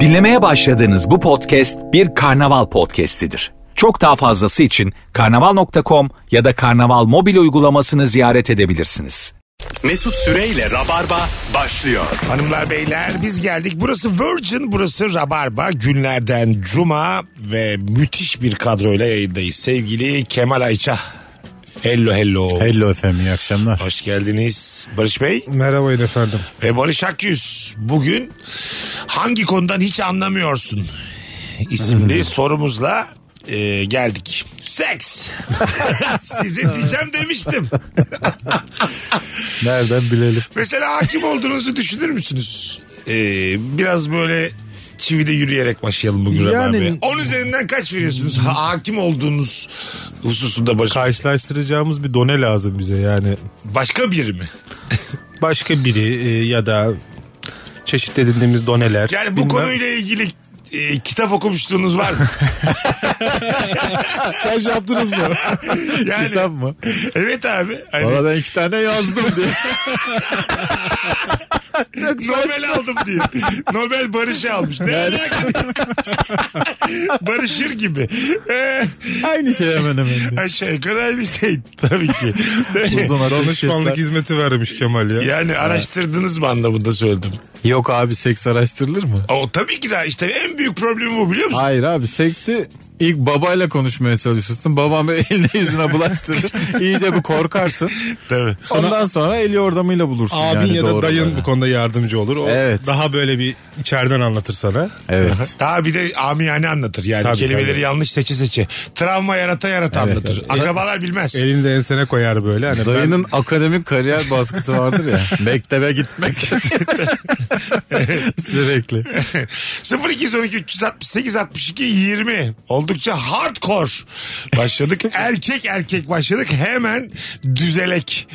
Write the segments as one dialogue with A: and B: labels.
A: Dinlemeye başladığınız bu podcast bir karnaval podcastidir. Çok daha fazlası için karnaval.com ya da karnaval mobil uygulamasını ziyaret edebilirsiniz.
B: Mesut Süreyle Rabarba başlıyor.
C: Hanımlar beyler biz geldik. Burası Virgin, burası Rabarba. Günlerden Cuma ve müthiş bir kadroyla yayındayız. Sevgili Kemal Ayça. Hello hello.
D: Hello efendim iyi akşamlar.
C: Hoş geldiniz Barış Bey
E: Merhabayın efendim.
C: ve Barış Akyüz. Bugün hangi konudan hiç anlamıyorsun isimli sorumuzla e, geldik. Seks. Size diyeceğim demiştim.
D: Nereden bilelim?
C: Mesela hakim olduğunuzu düşünür müsünüz? Ee, biraz böyle çivide yürüyerek başlayalım bugün
E: Yani-
C: yani... 10 üzerinden kaç veriyorsunuz? Ha- hakim olduğunuz hususunda Barış.
E: Karşılaştıracağımız bir done lazım bize yani.
C: Başka biri mi?
E: Başka biri e, ya da çeşit edindiğimiz doneler.
C: Yani bu
E: Bilmem.
C: konuyla ilgili e, kitap okumuşluğunuz var mı?
D: Staj yaptınız mı?
C: Yani,
D: Kitap mı?
C: Evet abi. Hani
D: Valla ben iki tane yazdım diye.
C: Nobel aldım diye. Nobel Barış'ı almış. Ne alaka? Barışır gibi. Ee,
D: Aynı şey hemen hemen. diye.
C: aşağı yukarı aynı şey tabii ki.
D: Uzun ateş
E: Danışmanlık
D: kesler.
E: hizmeti vermiş Kemal ya.
C: yani araştırdınız mı anlamında söyledim.
D: Yok abi seks araştırılır mı?
C: O tabii ki de işte en büyük problemi bu biliyor musun?
D: Hayır abi seksi ilk babayla konuşmaya çalışırsın. Babam böyle eline yüzüne bulaştırır. İyice bir korkarsın.
C: Tabii.
D: Ondan sonra eli yordamıyla bulursun
E: Abin
D: yani
E: ya da
D: doğru
E: dayın
D: yani.
E: bu konuda yardımcı olur. O
D: Evet.
E: daha böyle bir içeriden anlatır sana.
D: Evet.
C: Daha bir de amiyane anlatır yani
E: Tabii,
C: kelimeleri
E: tabii.
C: yanlış seçe seçe. Travma yarata yarata
D: Evet,
C: anlatır. Akrabalar bilmez.
E: Elini de ensene koyar böyle. Hani
D: Dayının akademik kariyer baskısı vardır ya. Mektebe gitmek. Sürekli.
C: 0212 368 62 20 oldukça hardcore başladık. erkek erkek başladık hemen düzelek.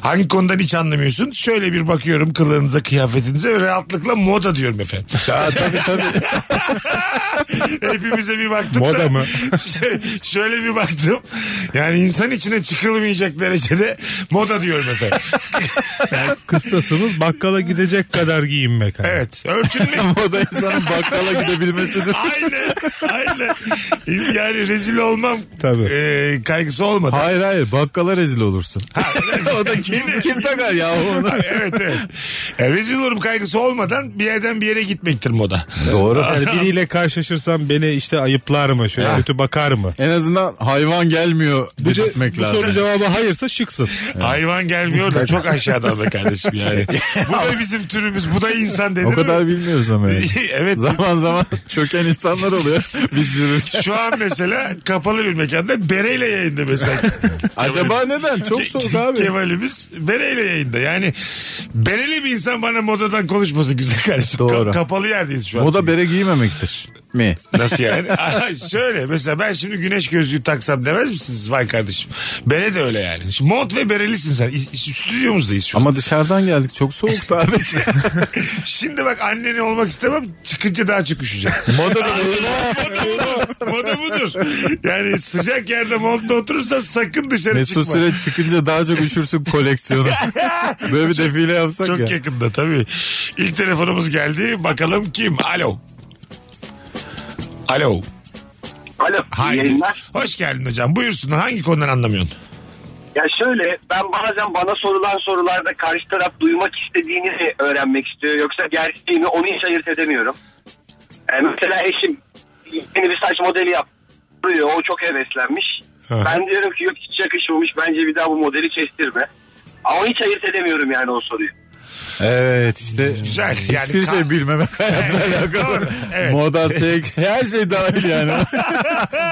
C: Hangi konudan hiç anlamıyorsun? Şöyle bir bakıyorum kılığınıza, kıyafetinize ve rahatlıkla moda diyorum efendim.
D: Ya tabii tabii.
C: Hepimize bir baktım
E: Moda
C: da.
E: mı?
C: Şöyle, şöyle bir baktım. Yani insan içine çıkılmayacak derecede moda diyorum efendim.
E: ben kıssasımız bakkala gidecek kadar giyinmek. Hani.
C: Evet. Örtünmek.
D: O da insanın bakkala gidebilmesidir.
C: aynen. Aynen. Yani rezil olmam
E: Tabii.
C: e, kaygısı olmadı.
D: Hayır hayır bakkala rezil olursun. o da
C: Yine-
D: kim, kim takar ya onu?
C: Ay, evet evet. E, rezil olurum kaygısı olmadan bir yerden bir yere gitmektir moda.
D: Doğru.
E: Yani Hani biriyle karşılaşırsam beni işte ayıplar mı? Şöyle kötü bakar mı?
D: En azından hayvan gelmiyor bu
E: Ce-
D: dedirtmek
E: bu
D: lazım.
E: sorunun cevabı hayırsa şıksın.
C: Hayvan gelmiyor da çok aşağıdan be kardeşim yani. Bu da bizim türümüz. Bu da insan denir
D: O
C: mi?
D: kadar bilmiyoruz ama yani.
C: evet.
D: zaman zaman çöken insanlar oluyor biz yürürken.
C: Şu an mesela kapalı bir mekanda bereyle yayında mesela.
D: Acaba neden? Çok soğuk abi.
C: Kemal'imiz bereyle yayında. Yani bereli bir insan bana modadan konuşmasın güzel kardeşim.
D: Doğru.
C: Ka- kapalı yerdeyiz şu an.
D: O da bere giymemektir mi?
C: Nasıl yani? Aha, Şöyle mesela ben şimdi güneş gözlüğü taksam demez misiniz? Vay kardeşim. Bere de öyle yani. Şimdi mont ve berelisin sen. İ- Stüdyomuzdayız şu an.
D: Ama dışarıdan geldik çok soğuktu abi.
C: Şimdi bak anneni olmak istemem. Çıkınca daha çok üşüyeceğim.
D: Moda
C: Moda budur. Moda budur. Yani sıcak yerde montla oturursan sakın dışarı
D: Mesut
C: çıkma.
D: Süre çıkınca daha çok üşürsün koleksiyonu. Böyle bir defile yapsak
C: Çok
D: ya.
C: yakında tabii. İlk telefonumuz geldi. Bakalım kim? Alo. Alo.
F: Alo. iyi
C: Haydi.
F: Yayınlar.
C: Hoş geldin hocam. Buyursun. Hangi konudan anlamıyorsun?
F: Ya şöyle ben bazen bana sorulan sorularda karşı taraf duymak istediğini mi öğrenmek istiyor yoksa gerçeğini onu hiç ayırt edemiyorum. Yani mesela eşim yeni bir saç modeli yaptırıyor. O çok heveslenmiş.
C: Hı.
F: Ben diyorum ki yok hiç yakışmamış. Bence bir daha bu modeli kestirme. Ama hiç ayırt edemiyorum yani o soruyu.
D: Evet işte.
C: Güzel, yani
D: hiçbir
C: ka-
D: şey bilmemek hayatla
C: Doğru.
D: alakalı.
C: Evet.
D: Moda, seks her şey dahil yani.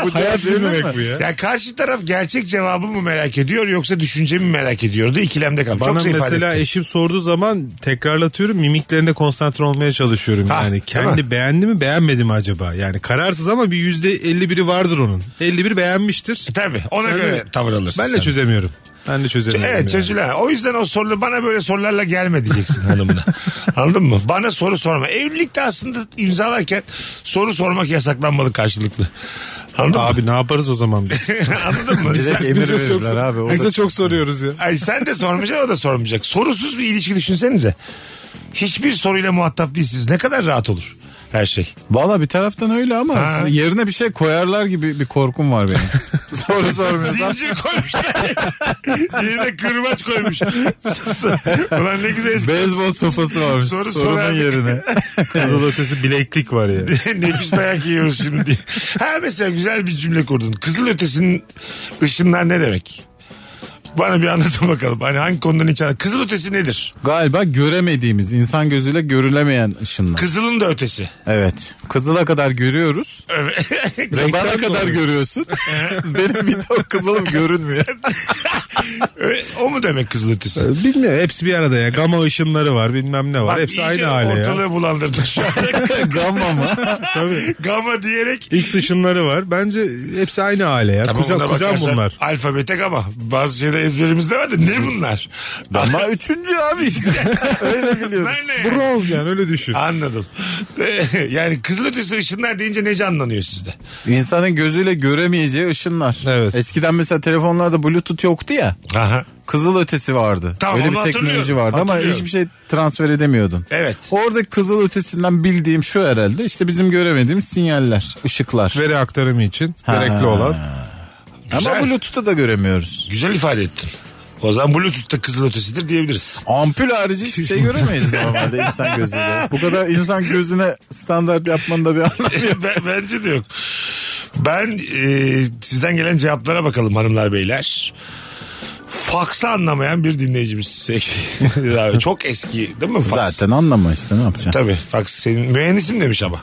D: bu
E: Hayat bilmemek bu ya.
C: Ya karşı taraf gerçek cevabı mı merak ediyor yoksa düşüncemi merak ediyordu. İkilemde kalmış.
E: Bana
C: Çok güzel ifade
E: mesela
C: ettin.
E: eşim sorduğu zaman tekrarlatıyorum mimiklerine konsantre olmaya çalışıyorum.
C: Ha,
E: yani
C: değil
E: kendi beğendi mi beğenmedi mi acaba? Yani kararsız ama bir yüzde 51'i vardır onun. 51 beğenmiştir.
C: Tabii ona
E: Sen
C: göre
E: de-
C: tavır alırsın.
E: e- Ben de
C: sen.
E: çözemiyorum. Ben de çözemiyorum.
C: Evet
E: yani.
C: çözülen. O yüzden o soru bana böyle sorularla gelme diyeceksin hanımına. Anladın mı? Bana soru sorma. Evlilikte aslında imzalarken soru sormak yasaklanmalı karşılıklı. Anladın mı?
E: Abi ne yaparız o zaman biz?
C: Anladın mı?
D: Direkt
C: Sen,
D: emir verirler abi. O
E: biz
D: da
E: de çok soruyoruz ya.
C: Ay sen de sormayacaksın o da sormayacak. Sorusuz bir ilişki düşünsenize. hiçbir soruyla muhatap değilsiniz. Ne kadar rahat olur her şey.
D: Valla bir taraftan öyle ama
C: Ha.
D: yerine bir şey koyarlar gibi bir korkum var benim. Soru sormuyorsan.
C: Zincir koymuşlar. Yerine kırbaç koymuş. Ulan ne güzel eski.
D: Beyzbol sopası var
C: Soru sorar.
D: sorunun yerine.
E: Kızıl ötesi bileklik var ya.
C: Nefis dayak yiyoruz şimdi diye. Ha mesela güzel bir cümle kurdun. Kızıl ötesinin ışınlar ne demek? Bana bir anlatın bakalım. Hani hangi konudan içeri? Kızıl ötesi nedir?
D: Galiba göremediğimiz insan gözüyle görülemeyen ışınlar.
C: Kızılın da ötesi.
D: Evet. Kızıla kadar görüyoruz.
C: Evet.
D: Bana kadar görüyorsun. Benim bir tok kızılım görünmüyor.
C: o mu demek kızıl ötesi?
E: Bilmiyorum hepsi bir arada ya. Gama ışınları var bilmem ne var.
C: Bak,
E: hepsi
C: iyice
E: aynı aile
C: ortalığı
E: ya.
C: bulandırdı şu an.
D: Gamma mı?
E: Tabii.
C: Gama diyerek.
E: X ışınları var. Bence hepsi aynı aile ya.
C: Tamam,
E: kuzen
C: buna
E: kuzen
C: bakarsan
E: bunlar.
C: Alfabete gama. Bazı şeyler ezberimizde var da ne bunlar?
D: Ama üçüncü abi işte. Öyle biliyoruz.
C: Bunlar ne? yani?
E: Bronz yani öyle düşün.
C: Anladım. yani kızıl ötesi ışınlar deyince ne canlanıyor sizde?
D: İnsanın gözüyle göremeyeceği ışınlar.
E: Evet.
D: Eskiden mesela telefonlarda bluetooth yoktu ya.
C: Aha.
D: Kızıl ötesi vardı.
C: Tamam,
D: Öyle
C: onu
D: bir teknoloji
C: hatırlıyorum.
D: vardı ama
C: Hatırlıyorum.
D: hiçbir şey transfer edemiyordun.
C: Evet.
D: Orada kızıl ötesinden bildiğim şu herhalde işte bizim göremediğimiz sinyaller, ışıklar.
E: Veri aktarımı için gerekli olan.
D: ama
C: Güzel.
D: Bluetooth'u da göremiyoruz.
C: Güzel ifade ettin. O zaman Bluetooth'ta kızıl ötesidir diyebiliriz.
D: Ampul harici hiçbir şey göremeyiz normalde insan gözüyle. Bu kadar insan gözüne standart yapmanın da bir anlamı yok.
C: Ben- Bence de yok. Ben e, sizden gelen cevaplara bakalım hanımlar beyler. Faksı anlamayan bir dinleyicimiz. sevgili abi. Çok eski değil mi faks?
D: Zaten anlama işte ne yapacaksın.
C: Tabii faks senin mühendisim demiş ama.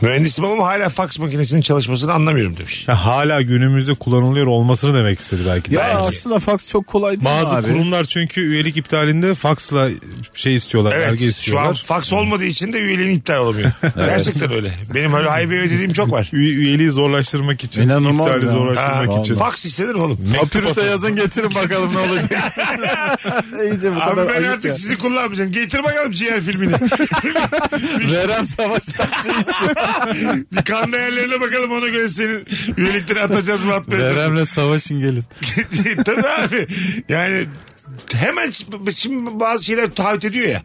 C: Mühendisim ama hala faks makinesinin çalışmasını anlamıyorum demiş.
E: Ya hala günümüzde kullanılıyor olmasını demek istedi belki. de.
D: Ya aslında fax çok kolay değil mi
E: Bazı
D: abi.
E: kurumlar çünkü üyelik iptalinde faksla şey istiyorlar,
C: Evet
E: belge
C: şu
E: istiyorlar.
C: an faks olmadığı için de üyeliğim iptal olamıyor. Gerçekten öyle. Benim öyle haybeye ödediğim çok var.
E: Üye- üyeliği zorlaştırmak için,
D: İnanılmaz
E: iptali
D: ya.
E: zorlaştırmak
C: Ha,
E: için.
C: Faks istenir mi oğlum?
D: Papyrus'a yazın getirin bakalım ne olacak. İyice bu
C: Abi
D: kadar
C: ben
D: ayıp
C: artık
D: ya.
C: sizi kullanmayacağım. Getir bakalım ciğer filmini.
D: Verem Savaş'tan şey istiyor.
C: bir kan değerlerine bakalım ona göre senin üyelikleri atacağız mı atmayacağız. mı?
D: Verem'le savaşın gelin.
C: Tabii abi. Yani hemen ç- şimdi bazı şeyler taahhüt ediyor ya.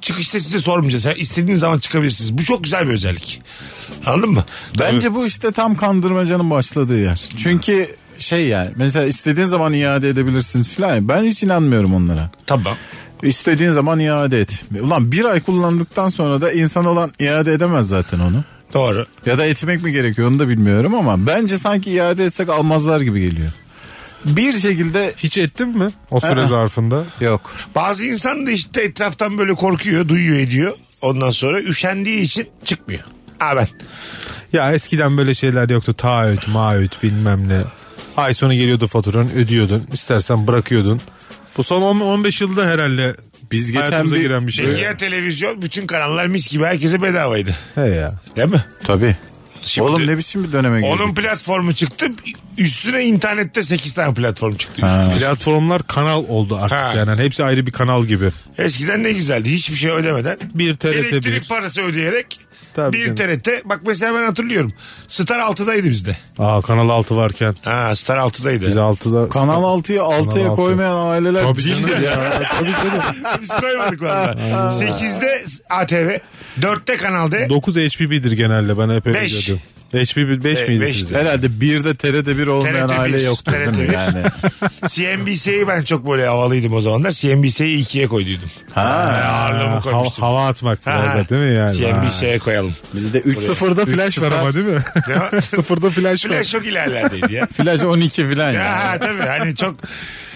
C: Çıkışta size sormayacağız. Ha, İstediğiniz zaman çıkabilirsiniz. Bu çok güzel bir özellik. Anladın mı?
D: Bence bu işte tam kandırmacanın başladığı yer. Çünkü şey yani mesela istediğin zaman iade edebilirsiniz filan. ya. Ben hiç inanmıyorum onlara.
C: Tamam.
D: İstediğin zaman iade et. Ulan bir ay kullandıktan sonra da insan olan iade edemez zaten onu.
C: Doğru.
D: Ya da etmek mi gerekiyor onu da bilmiyorum ama bence sanki iade etsek almazlar gibi geliyor. Bir şekilde
E: Hiç ettin mi o süre
D: Aa.
E: zarfında?
D: yok.
C: Bazı insan da işte etraftan böyle korkuyor, duyuyor ediyor. Ondan sonra üşendiği için çıkmıyor. Ha ben.
E: Ya eskiden böyle şeyler yoktu. Taahhüt, maahhüt bilmem ne. Ay sonu geliyordu faturan ödüyordun. İstersen bırakıyordun. Bu son 10 15 yılda herhalde
D: Biz geçen
E: hayatımıza
D: bir...
E: giren bir şey.
C: Peki ya televizyon bütün kanallar mis gibi herkese bedavaydı.
E: He ya.
C: Değil mi?
D: Tabii.
C: Şimdi-
D: Oğlum ne biçim bir döneme girdik.
C: Onun platformu çıktı. Üstüne internette 8 tane platform çıktı. üstüne.
E: Platformlar kanal oldu artık
C: Ha.
E: yani. Hani Hepsi ayrı bir kanal gibi.
C: Eskiden ne güzeldi. Hiçbir şey ödemeden.
E: Bir TRT
C: Elektrik
E: bir.
C: parası ödeyerek.
E: Tabii
C: bir
E: canım.
C: TRT. Bak mesela ben hatırlıyorum. Star 6'daydı bizde.
E: Aa kanal 6 varken
C: Ha Star 6'daydı.
E: biz 6'da
D: Kanal 6'yı 6'ya
E: altı.
D: koymayan aileler
E: Tabii
D: cin
E: canım.
D: ya. Tabii canım.
C: Biz koymadık valla. 8'de ATV. 4'te Kanal D.
E: 9 HBB'dir genelde ben hep öyle
C: Beş.
E: diyordum. HBB 5
C: Be-
E: miydi
C: beşti.
E: sizde?
D: Herhalde bir de TRT bir olmayan
C: TRT bir,
D: aile yoktur değil
C: TRT bir.
D: mi yani?
C: CNBC'yi ben çok böyle havalıydım o zamanlar. CNBC'yi 2'ye koyduydum. Ha. ağırlığımı
E: Ha, hava,
C: koymuştum.
E: hava atmak
C: Ha. Şey,
E: biraz da değil mi yani?
C: CNBC'ye koyalım.
D: Bizde 3-0
E: Sıfırda flash var ama değil mi?
C: Ne var?
E: Sıfırda flash var.
C: Flash çok ilerlerdeydi ya.
D: Flash 12 filan ya.
C: Ya tabii hani çok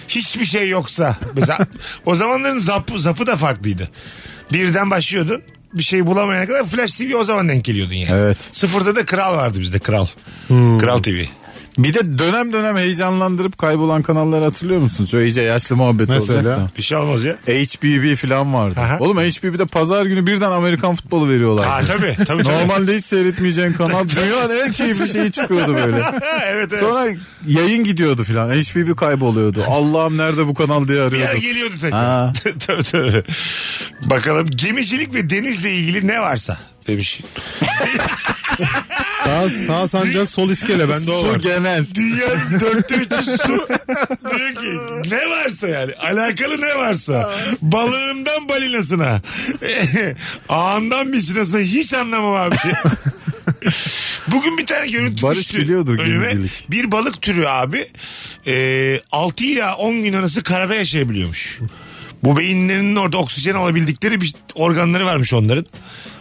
C: hiçbir şey yoksa. Mesela o zamanların zapı, zapı da farklıydı. Birden başlıyordun bir şey bulamayana kadar Flash TV o zaman denk geliyordun yani.
D: Evet.
C: Sıfırda da Kral vardı bizde Kral.
E: Hmm.
C: Kral TV.
D: Bir de dönem dönem heyecanlandırıp kaybolan kanalları hatırlıyor musunuz? Şöyle iyice yaşlı muhabbet
E: Mesela?
D: olacak da.
C: Bir şey olmaz ya.
D: HBB filan vardı.
C: Aha.
D: Oğlum HBB'de pazar günü birden Amerikan futbolu
C: Ha
D: veriyorlar.
C: tabii tabii. tabii.
D: Normalde hiç seyretmeyeceğin kanal dünyanın en keyifli şeyi çıkıyordu böyle.
C: evet evet.
D: Sonra yayın gidiyordu filan. HBB kayboluyordu. Allah'ım nerede bu kanal diye
C: Bir ara
D: arıyorduk.
C: geliyordu tekrar.
D: Ha.
C: tabii, tabii. Bakalım gemicilik ve denizle ilgili ne varsa demiş.
E: Sağ, sağ sancak sol iskele bende o var.
D: genel.
C: Dünyanın dörtte üçü su. Diyor ki ne varsa yani. Alakalı ne varsa. Balığından balinasına. Ağından misinasına hiç anlamam abi. Bugün bir tane görüntü
D: Barış
C: düştü
D: biliyordur
C: önüme.
D: gemicilik.
C: Bir balık türü abi e, 6 ila 10 gün arası karada yaşayabiliyormuş. Bu beyinlerinin orada oksijen alabildikleri bir organları varmış onların.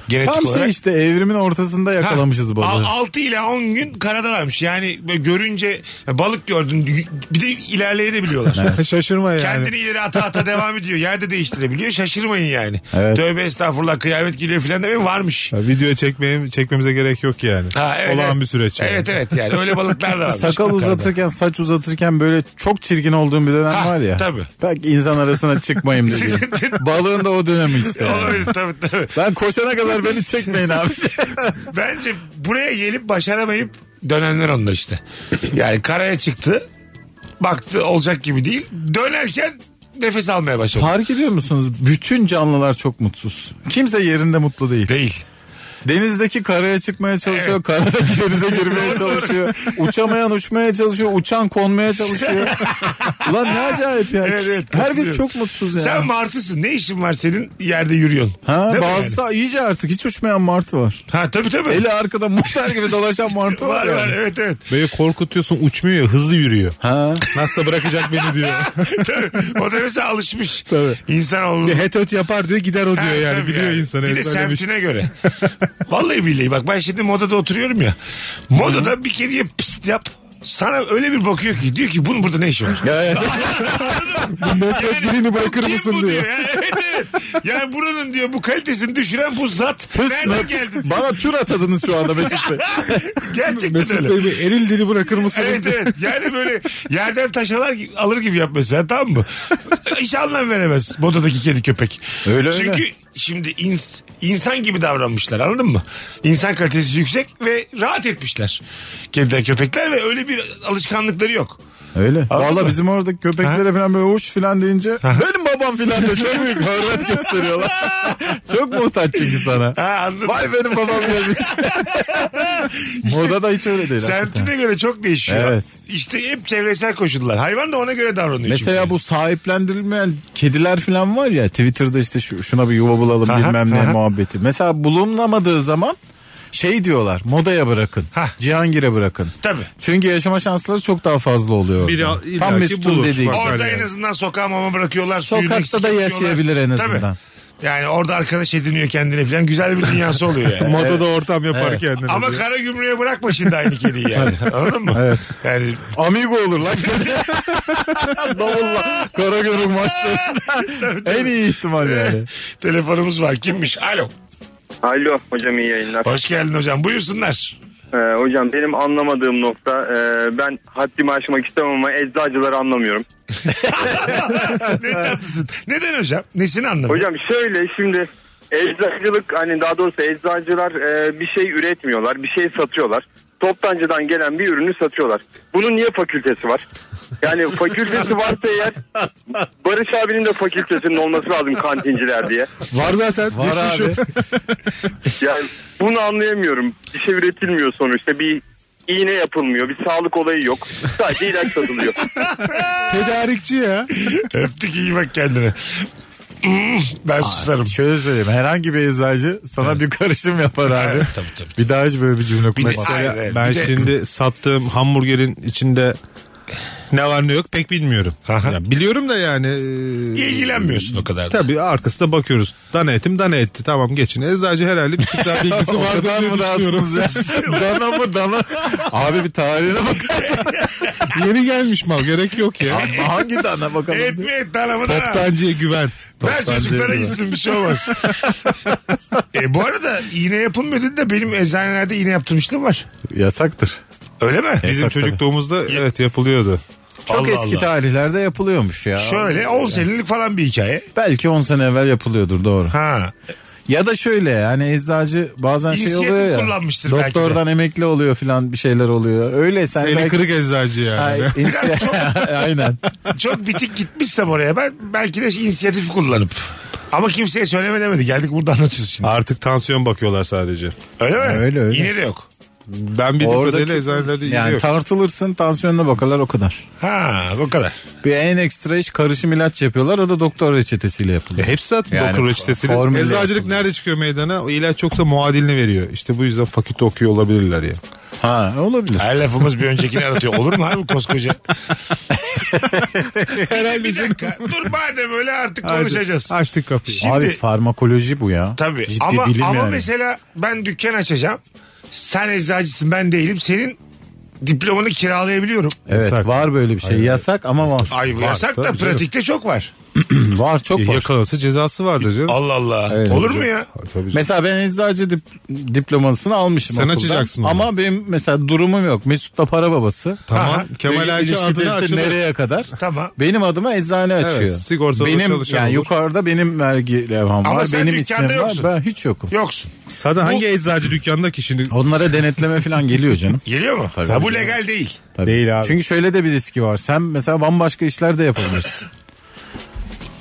C: Genetik
D: Tam
C: olarak.
D: şey işte evrimin ortasında yakalamışız balığı.
C: 6 ile 10 gün karadalarmış. Yani böyle görünce balık gördün y- bir de ilerleyebiliyorlar.
E: Şaşırma yani.
C: Kendini ileri ata ata devam ediyor. Yerde değiştirebiliyor. Şaşırmayın yani.
D: Evet.
C: Tövbe estağfurullah kıyamet geliyor filan demeyin varmış.
E: Ya Videoya çekmeye, çekmemize gerek yok yani.
C: Ha, evet,
E: Olağan
C: evet.
E: bir süreç. yani.
C: Evet evet yani öyle balıklar da varmış.
D: Sakal uzatırken saç uzatırken böyle çok çirkin olduğum bir dönem
C: Ha,
D: var ya.
C: tabii.
D: Bak insan arasına çıkmayayım dedi. Balığın da o dönemi işte. yani.
C: Olabilir tabii tabii.
D: Ben koşana kadar beni çekmeyin abi.
C: Bence buraya gelip başaramayıp dönenler onlar işte. Yani karaya çıktı. Baktı olacak gibi değil. Dönerken nefes almaya başladı.
D: Fark ediyor musunuz? Bütün canlılar çok mutsuz. Kimse yerinde mutlu değil.
C: değil.
D: Denizdeki karaya çıkmaya çalışıyor, karadaki denize girmeye çalışıyor. Uçamayan uçmaya çalışıyor, uçan konmaya çalışıyor. Ulan ne acayip ya.
C: Evet, evet,
D: Herkes
C: katılıyorum.
D: çok mutsuz ya.
C: Sen martısın. Ne işin var senin yerde yürüyorsun?
D: Ha,
C: Değil mi
D: bazısı iyice artık hiç uçmayan martı var.
C: yani? Ha tabii tabii.
D: Eli arkada muhtar gibi dolaşan martı
C: var
D: var, yani.
C: var evet evet.
E: Böyle korkutuyorsun uçmuyor ya hızlı yürüyor.
D: Ha.
E: Nasılsa bırakacak beni diyor.
C: Tabii. o da mesela alışmış.
E: Tabii.
C: İnsan oldu.
E: bir het öt yapar diyor gider o diyor yani. Biliyor insanı.
C: Bir de
E: ezberlemiş.
C: semtine göre. Vallahi billahi bak ben şimdi modada oturuyorum ya. Modada bir kediye pist yap. Sana öyle bir bakıyor ki diyor ki bunun burada ne işi var?
D: Ya, ya.
C: Yani,
E: birini bırakır
C: kim
E: mısın
C: bu
E: diyor.
C: Yani, evet, evet. yani buranın diyor bu kalitesini düşüren bu zat.
D: Pıs
C: Nereden
D: mı?
C: geldi?
D: Bana tür atadınız şu anda Mesut Bey.
C: Gerçekten
E: Mesut
C: öyle.
E: Bey bir eril dili bırakır mısınız?
C: Evet evet yani böyle yerden taşalar gibi, alır gibi yap mesela tamam mı? Hiç anlam veremez modadaki kedi köpek.
D: Öyle öyle.
C: Çünkü şimdi ins- insan gibi davranmışlar anladın mı? İnsan kalitesi yüksek ve rahat etmişler kediler köpekler ve öyle bir alışkanlıkları yok.
D: Öyle.
C: Anladın
D: Valla
C: mı?
D: bizim oradaki köpeklere falan böyle hoş falan deyince benim babam falan diye çok büyük hürmet gösteriyorlar. çok muhtaç çünkü sana.
C: Ha anladım.
D: Vay benim babam gelmiş. Moda da hiç öyle değil. hakikaten.
C: Semtine göre çok değişiyor.
D: Evet.
C: İşte hep çevresel koşullar. Hayvan da ona göre davranıyor
D: Mesela
C: çünkü.
D: bu sahiplendirilmeyen kediler falan var ya Twitter'da işte şu, şuna bir yuva bulalım
C: Aha,
D: bilmem ne
C: aha.
D: muhabbeti. Mesela bulunamadığı zaman şey diyorlar modaya bırakın.
C: Hah.
D: Cihangir'e bırakın.
C: Tabii.
D: Çünkü yaşama şansları çok daha fazla oluyor.
E: Biri
D: orada.
E: illaki
D: Tam Mesut'un
E: bulur.
D: dediği gibi.
E: Bak-
C: Orada
E: yani.
C: en azından sokağa mama bırakıyorlar. suyunu
D: Sokakta
C: eksik
D: da
C: yapıyorlar.
D: yaşayabilir en azından.
C: Yani orada arkadaş ediniyor kendine falan. Güzel bir dünyası oluyor yani.
E: Modada ortam yapar
D: Evet.
E: kendini.
C: Ama
E: diyor.
C: kara gümrüğe bırakma şimdi aynı kediyi yani. Anladın mı?
D: Evet.
C: Yani
D: Amigo olur lan. Davulla. Karagöl'ün maçları. en iyi ihtimal yani.
C: telefonumuz var. Kimmiş? Alo.
F: Alo hocam iyi yayınlar.
C: Hoş geldin hocam. Buyursunlar.
F: Ee, hocam benim anlamadığım nokta e, ben haddimi aşmak istemem ama eczacıları anlamıyorum.
C: ne tatlısın. Neden hocam? Nesini anlamadım?
F: Hocam şöyle şimdi eczacılık hani daha doğrusu eczacılar e, bir şey üretmiyorlar bir şey satıyorlar. Toptancıdan gelen bir ürünü satıyorlar. Bunun niye fakültesi var? Yani fakültesi varsa eğer Barış abinin de fakültesinin olması lazım kantinciler diye.
E: Var zaten.
D: Var
E: Geçmiş o.
D: abi.
F: Yani bunu anlayamıyorum. Bir şey üretilmiyor sonuçta bir iğne yapılmıyor. Bir sağlık olayı yok. Sadece ilaç satılıyor.
E: Tedarikçi ya.
C: Öptük iyi bak kendine. Hmm, ben susarım.
D: Şöyle söyleyeyim herhangi bir eczacı sana bir karışım yapar abi.
C: Evet, tabii, tabii,
D: Bir daha hiç böyle bir cümle
C: Bir de-
D: kurmaz.
C: Ay, evet,
E: ben
C: bir de-
E: şimdi sattığım hamburgerin içinde ne var ne yok pek bilmiyorum.
C: Aha.
E: Ya biliyorum da yani. e,
C: İlgilenmiyorsun o kadar. da.
E: Tabii arkasında bakıyoruz. Dana etim dana etti. Tamam geçin. Eczacı herhalde bir tık daha bilgisi vardı
D: Oradan
E: diye
D: mı
E: düşünüyorum.
D: rahatsınız ya? dana mı dana? Abi bir tarihine bak.
E: Yeni gelmiş mal gerek yok ya.
D: Abi hangi dana bakalım?
C: Et mi et tanımına.
E: Toptancıya güven.
C: Ver çocuklara gitsin bir şey olmaz. e, bu arada iğne yapılmıyor dedi de benim eczanelerde iğne yaptırmışlığım var.
D: Yasaktır.
C: Öyle mi?
E: Bizim
D: Yasak tabii.
E: çocukluğumuzda evet yapılıyordu.
D: Çok
C: Allah
D: eski
C: Allah.
D: tarihlerde yapılıyormuş ya.
C: Şöyle 10 senelik falan bir hikaye.
D: Belki 10 sene evvel yapılıyordur doğru.
C: Ha.
D: Ya da şöyle yani eczacı bazen şey
C: İnisiyatif
D: oluyor ya.
C: kullanmıştır belki de.
D: doktordan emekli oluyor filan bir şeyler oluyor. Öyle sen
E: Eli
D: belki-
E: kırık eczacı yani.
D: Ay, inisiya- Aynen.
C: Çok bitik gitmişsem oraya ben belki de inisiyatif kullanıp. Ama kimseye söyleme demedi. Geldik burada anlatıyoruz şimdi.
E: Artık tansiyon bakıyorlar sadece.
C: Öyle mi?
D: Öyle, öyle.
C: İğne de yok.
E: Ben bildiğim kadarıyla eczanelerde iyi
D: yani
E: yok.
D: tartılırsın tansiyonuna bakarlar o kadar.
C: Ha bu kadar.
D: Bir en ekstra iş karışım ilaç yapıyorlar o da doktor reçetesiyle
E: E
D: yapılıyor.
E: hepsi zaten
D: Yani
E: doktor
D: for-
E: reçetesinin.
D: formülle
E: Eczacılık
D: yapılıyor.
E: nerede çıkıyor meydana? O ilaç yoksa muadilini veriyor. İşte bu yüzden fakülte okuyor olabilirler ya.
D: Ha olabilir.
C: Her lafımız bir öncekini aratıyor. Olur mu abi koskoca? Herhalde bir dakika. Dur madem öyle artık konuşacağız.
E: Açtık kapıyı.
C: Şimdi-
D: Abi farmakoloji bu ya.
C: Tabii
D: Ciddi
C: ama,
D: bilim
C: ama
D: yani.
C: mesela ben dükkan açacağım. Sen eczacısın ben değilim. Senin diplomanı kiralayabiliyorum.
D: Evet
E: Yasak.
D: var böyle bir şey. yasak ama var.
C: Ay bu
E: Var,
C: yasak da
E: tabii canım.
C: pratikte çok var.
D: Var çok
E: E,
D: var.
E: Yakalansa cezası vardır canım.
C: Allah Allah.
D: Evet.
C: Olur mu ya?
E: Tabii canım.
D: Mesela ben eczacı dip- diplomasını almışım
E: Sen
D: okuldan.
E: açacaksın onu.
D: Ama benim mesela durumum yok. Mesut da para babası.
E: Tamam.
C: Aha.
E: Kemal
D: Ve
E: Aycı
D: ilişki
E: adına
D: testi
E: açılır.
D: nereye kadar?
C: Tamam.
D: Benim adıma eczane açıyor.
E: sigortalı
D: benim,
E: çalışan
D: yani
E: olur.
D: yukarıda benim vergi levham
C: Ama
D: var.
C: sen
D: Benim
C: dükkanda
D: ismim
C: yoksun.
D: var. Ben hiç yokum.
C: Yoksun.
E: Sana hangi eczacı dükkanda ki şimdi?
D: Onlara denetleme falan geliyor canım.
C: Geliyor mu?
D: Tabii.
C: ha, bu legal değil.
D: Tabii.
E: Değil abi.
D: Çünkü şöyle de bir riski var. Sen mesela bambaşka işler de yapabilirsin.